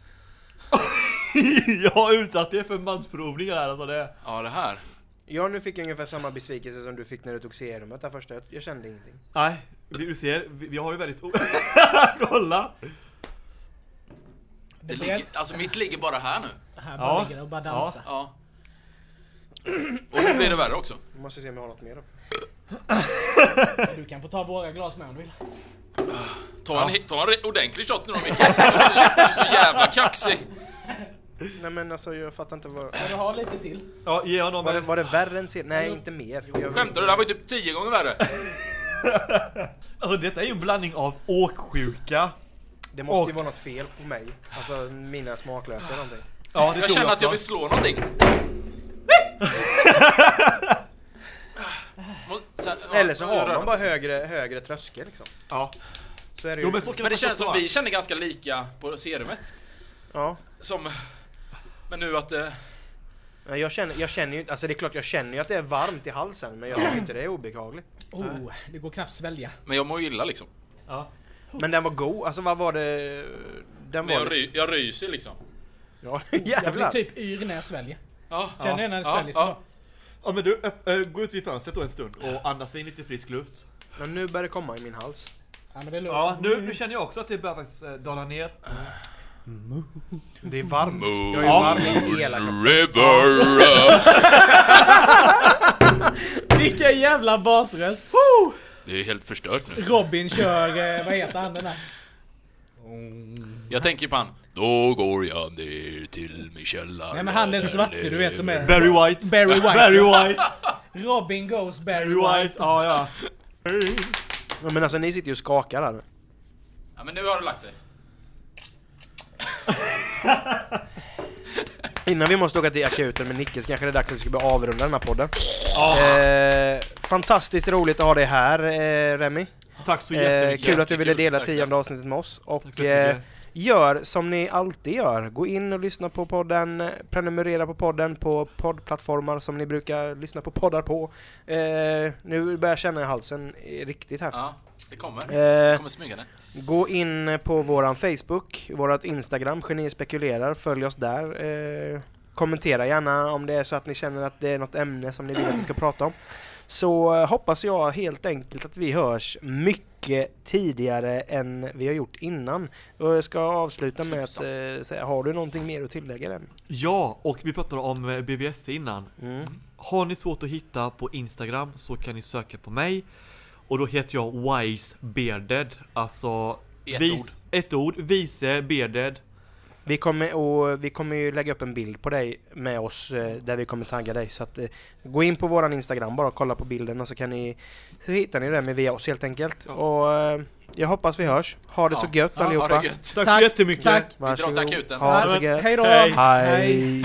jag har utsatt er för mansprovningar här alltså det. Ja, det här. Ja nu fick jag ungefär samma besvikelse som du fick när du tog serumet där första. Jag kände ingenting. Nej, du du ser, vi, vi har ju väldigt... o- Kolla! Det ligger, alltså mitt ligger bara här nu. Här bara Ja. ligger det och bara dansar. Ja. Och nu blir det värre också. Vi måste se om jag har något mer då. Du kan få ta våra glas med om du vill. Ta en, he- ta en re- ordentlig shot nu då Micke. Du är så- du är så jävla kaxig. Nej men alltså jag fattar inte vad... Men du har lite till. Ja, ge honom Var det, en... var det värre än ser? Nej inte mer. Jag- Skämtar du? Det här var ju typ tio gånger värre. Alltså detta är ju en blandning av åksjuka... Det måste ju Och- vara något fel på mig. Alltså mina smaklökar eller någonting. Ja, det Jag tror känner att jag också. vill slå någonting. Eller så har man bara högre, högre tröskel liksom. Ja. Så är det ju. Jo men så kan Men det faktiskt känns som vara. vi känner ganska lika på serumet. Ja. Som... Men nu att eh, det... Nej, Jag känner, jag känner ju alltså det är klart jag känner ju att det är varmt i halsen men jag tycker inte det är obehagligt. Oh, det går knappt svälja. Men jag mår ju illa liksom. Ja. Men den var god, alltså vad var det? Den Men var... jag, ry, jag ryser liksom. Ja, Jag blir jävlar! typ yr när jag sväljer. Ja. Känner du när det Ja, sväljer? ja. så? ja men du, öpp- äh, gå ut vid fönstret då en stund och andas in lite frisk luft. Mm. Men nu börjar det komma i min hals. Ja, men det är lugnt. Ja, nu, nu känner jag också att det börjar faktiskt äh, dala ner. Det är varmt. Moon Jag är varm i hela kroppen. River! Vilken jävla basröst! Woo! Det är ju helt förstört nu. Robin kör, eh, vad heter han den där? Jag tänker på han. Då går jag ner till min källare. Nej men han den svarte du vet som är... Barry White! Barry White. Barry White! Robin goes Barry Barry White. White, ja ja. Ja, men alltså ni sitter ju och skakar här nu. Ja men nu har det lagt sig. Innan vi måste åka till akuten med Nicke så kanske det är dags att vi ska börja avrunda den här podden. Ja, Eh, fantastiskt roligt att ha dig här eh, Remi. tack så Eh, jättemycket. kul att du ville Jättekul, dela verkligen. tionde avsnittet med oss. Tack Och så jättemycket. Eh, eh, Gör som ni alltid gör. Gå in och lyssna på podden. eh, Prenumerera på podden på poddplattformar som ni brukar lyssna på poddar på. Eh, nu börjar jag känna i halsen eh, riktigt här. Ja, det kommer. Eh, Det kommer smygande. Gå in på våran Facebook, vårat Instagram, Geni spekulerar, följ oss där. Eh, kommentera gärna om det är så att ni känner att det är något ämne som ni vill att vi ska prata om. Så eh, hoppas jag helt enkelt att vi hörs mycket tidigare än vi har gjort innan. Och jag ska avsluta med att eh, säga, har du någonting mer att tillägga den? Ja, och vi pratade om eh, BBS innan. Mm. Har ni svårt att hitta på Instagram så kan ni söka på mig. Och då heter jag Wise Bearded. Alltså... I ett ord. Ett ord. Vice Bearded. Vi kommer, och vi kommer ju lägga upp en bild på dig med oss eh, där vi kommer tagga dig. Så att, eh, gå in på våran Instagram bara och kolla på bilden och så kan ni så hittar ni det med via oss helt enkelt. Och eh, jag hoppas vi hörs. Ha det så Ja. gött Ja, allihopa. Ha det gött. Tack, Tack, så jättemycket! tack. Vi drar till akuten. Ha det så gött. Hej då! Hej. Hej.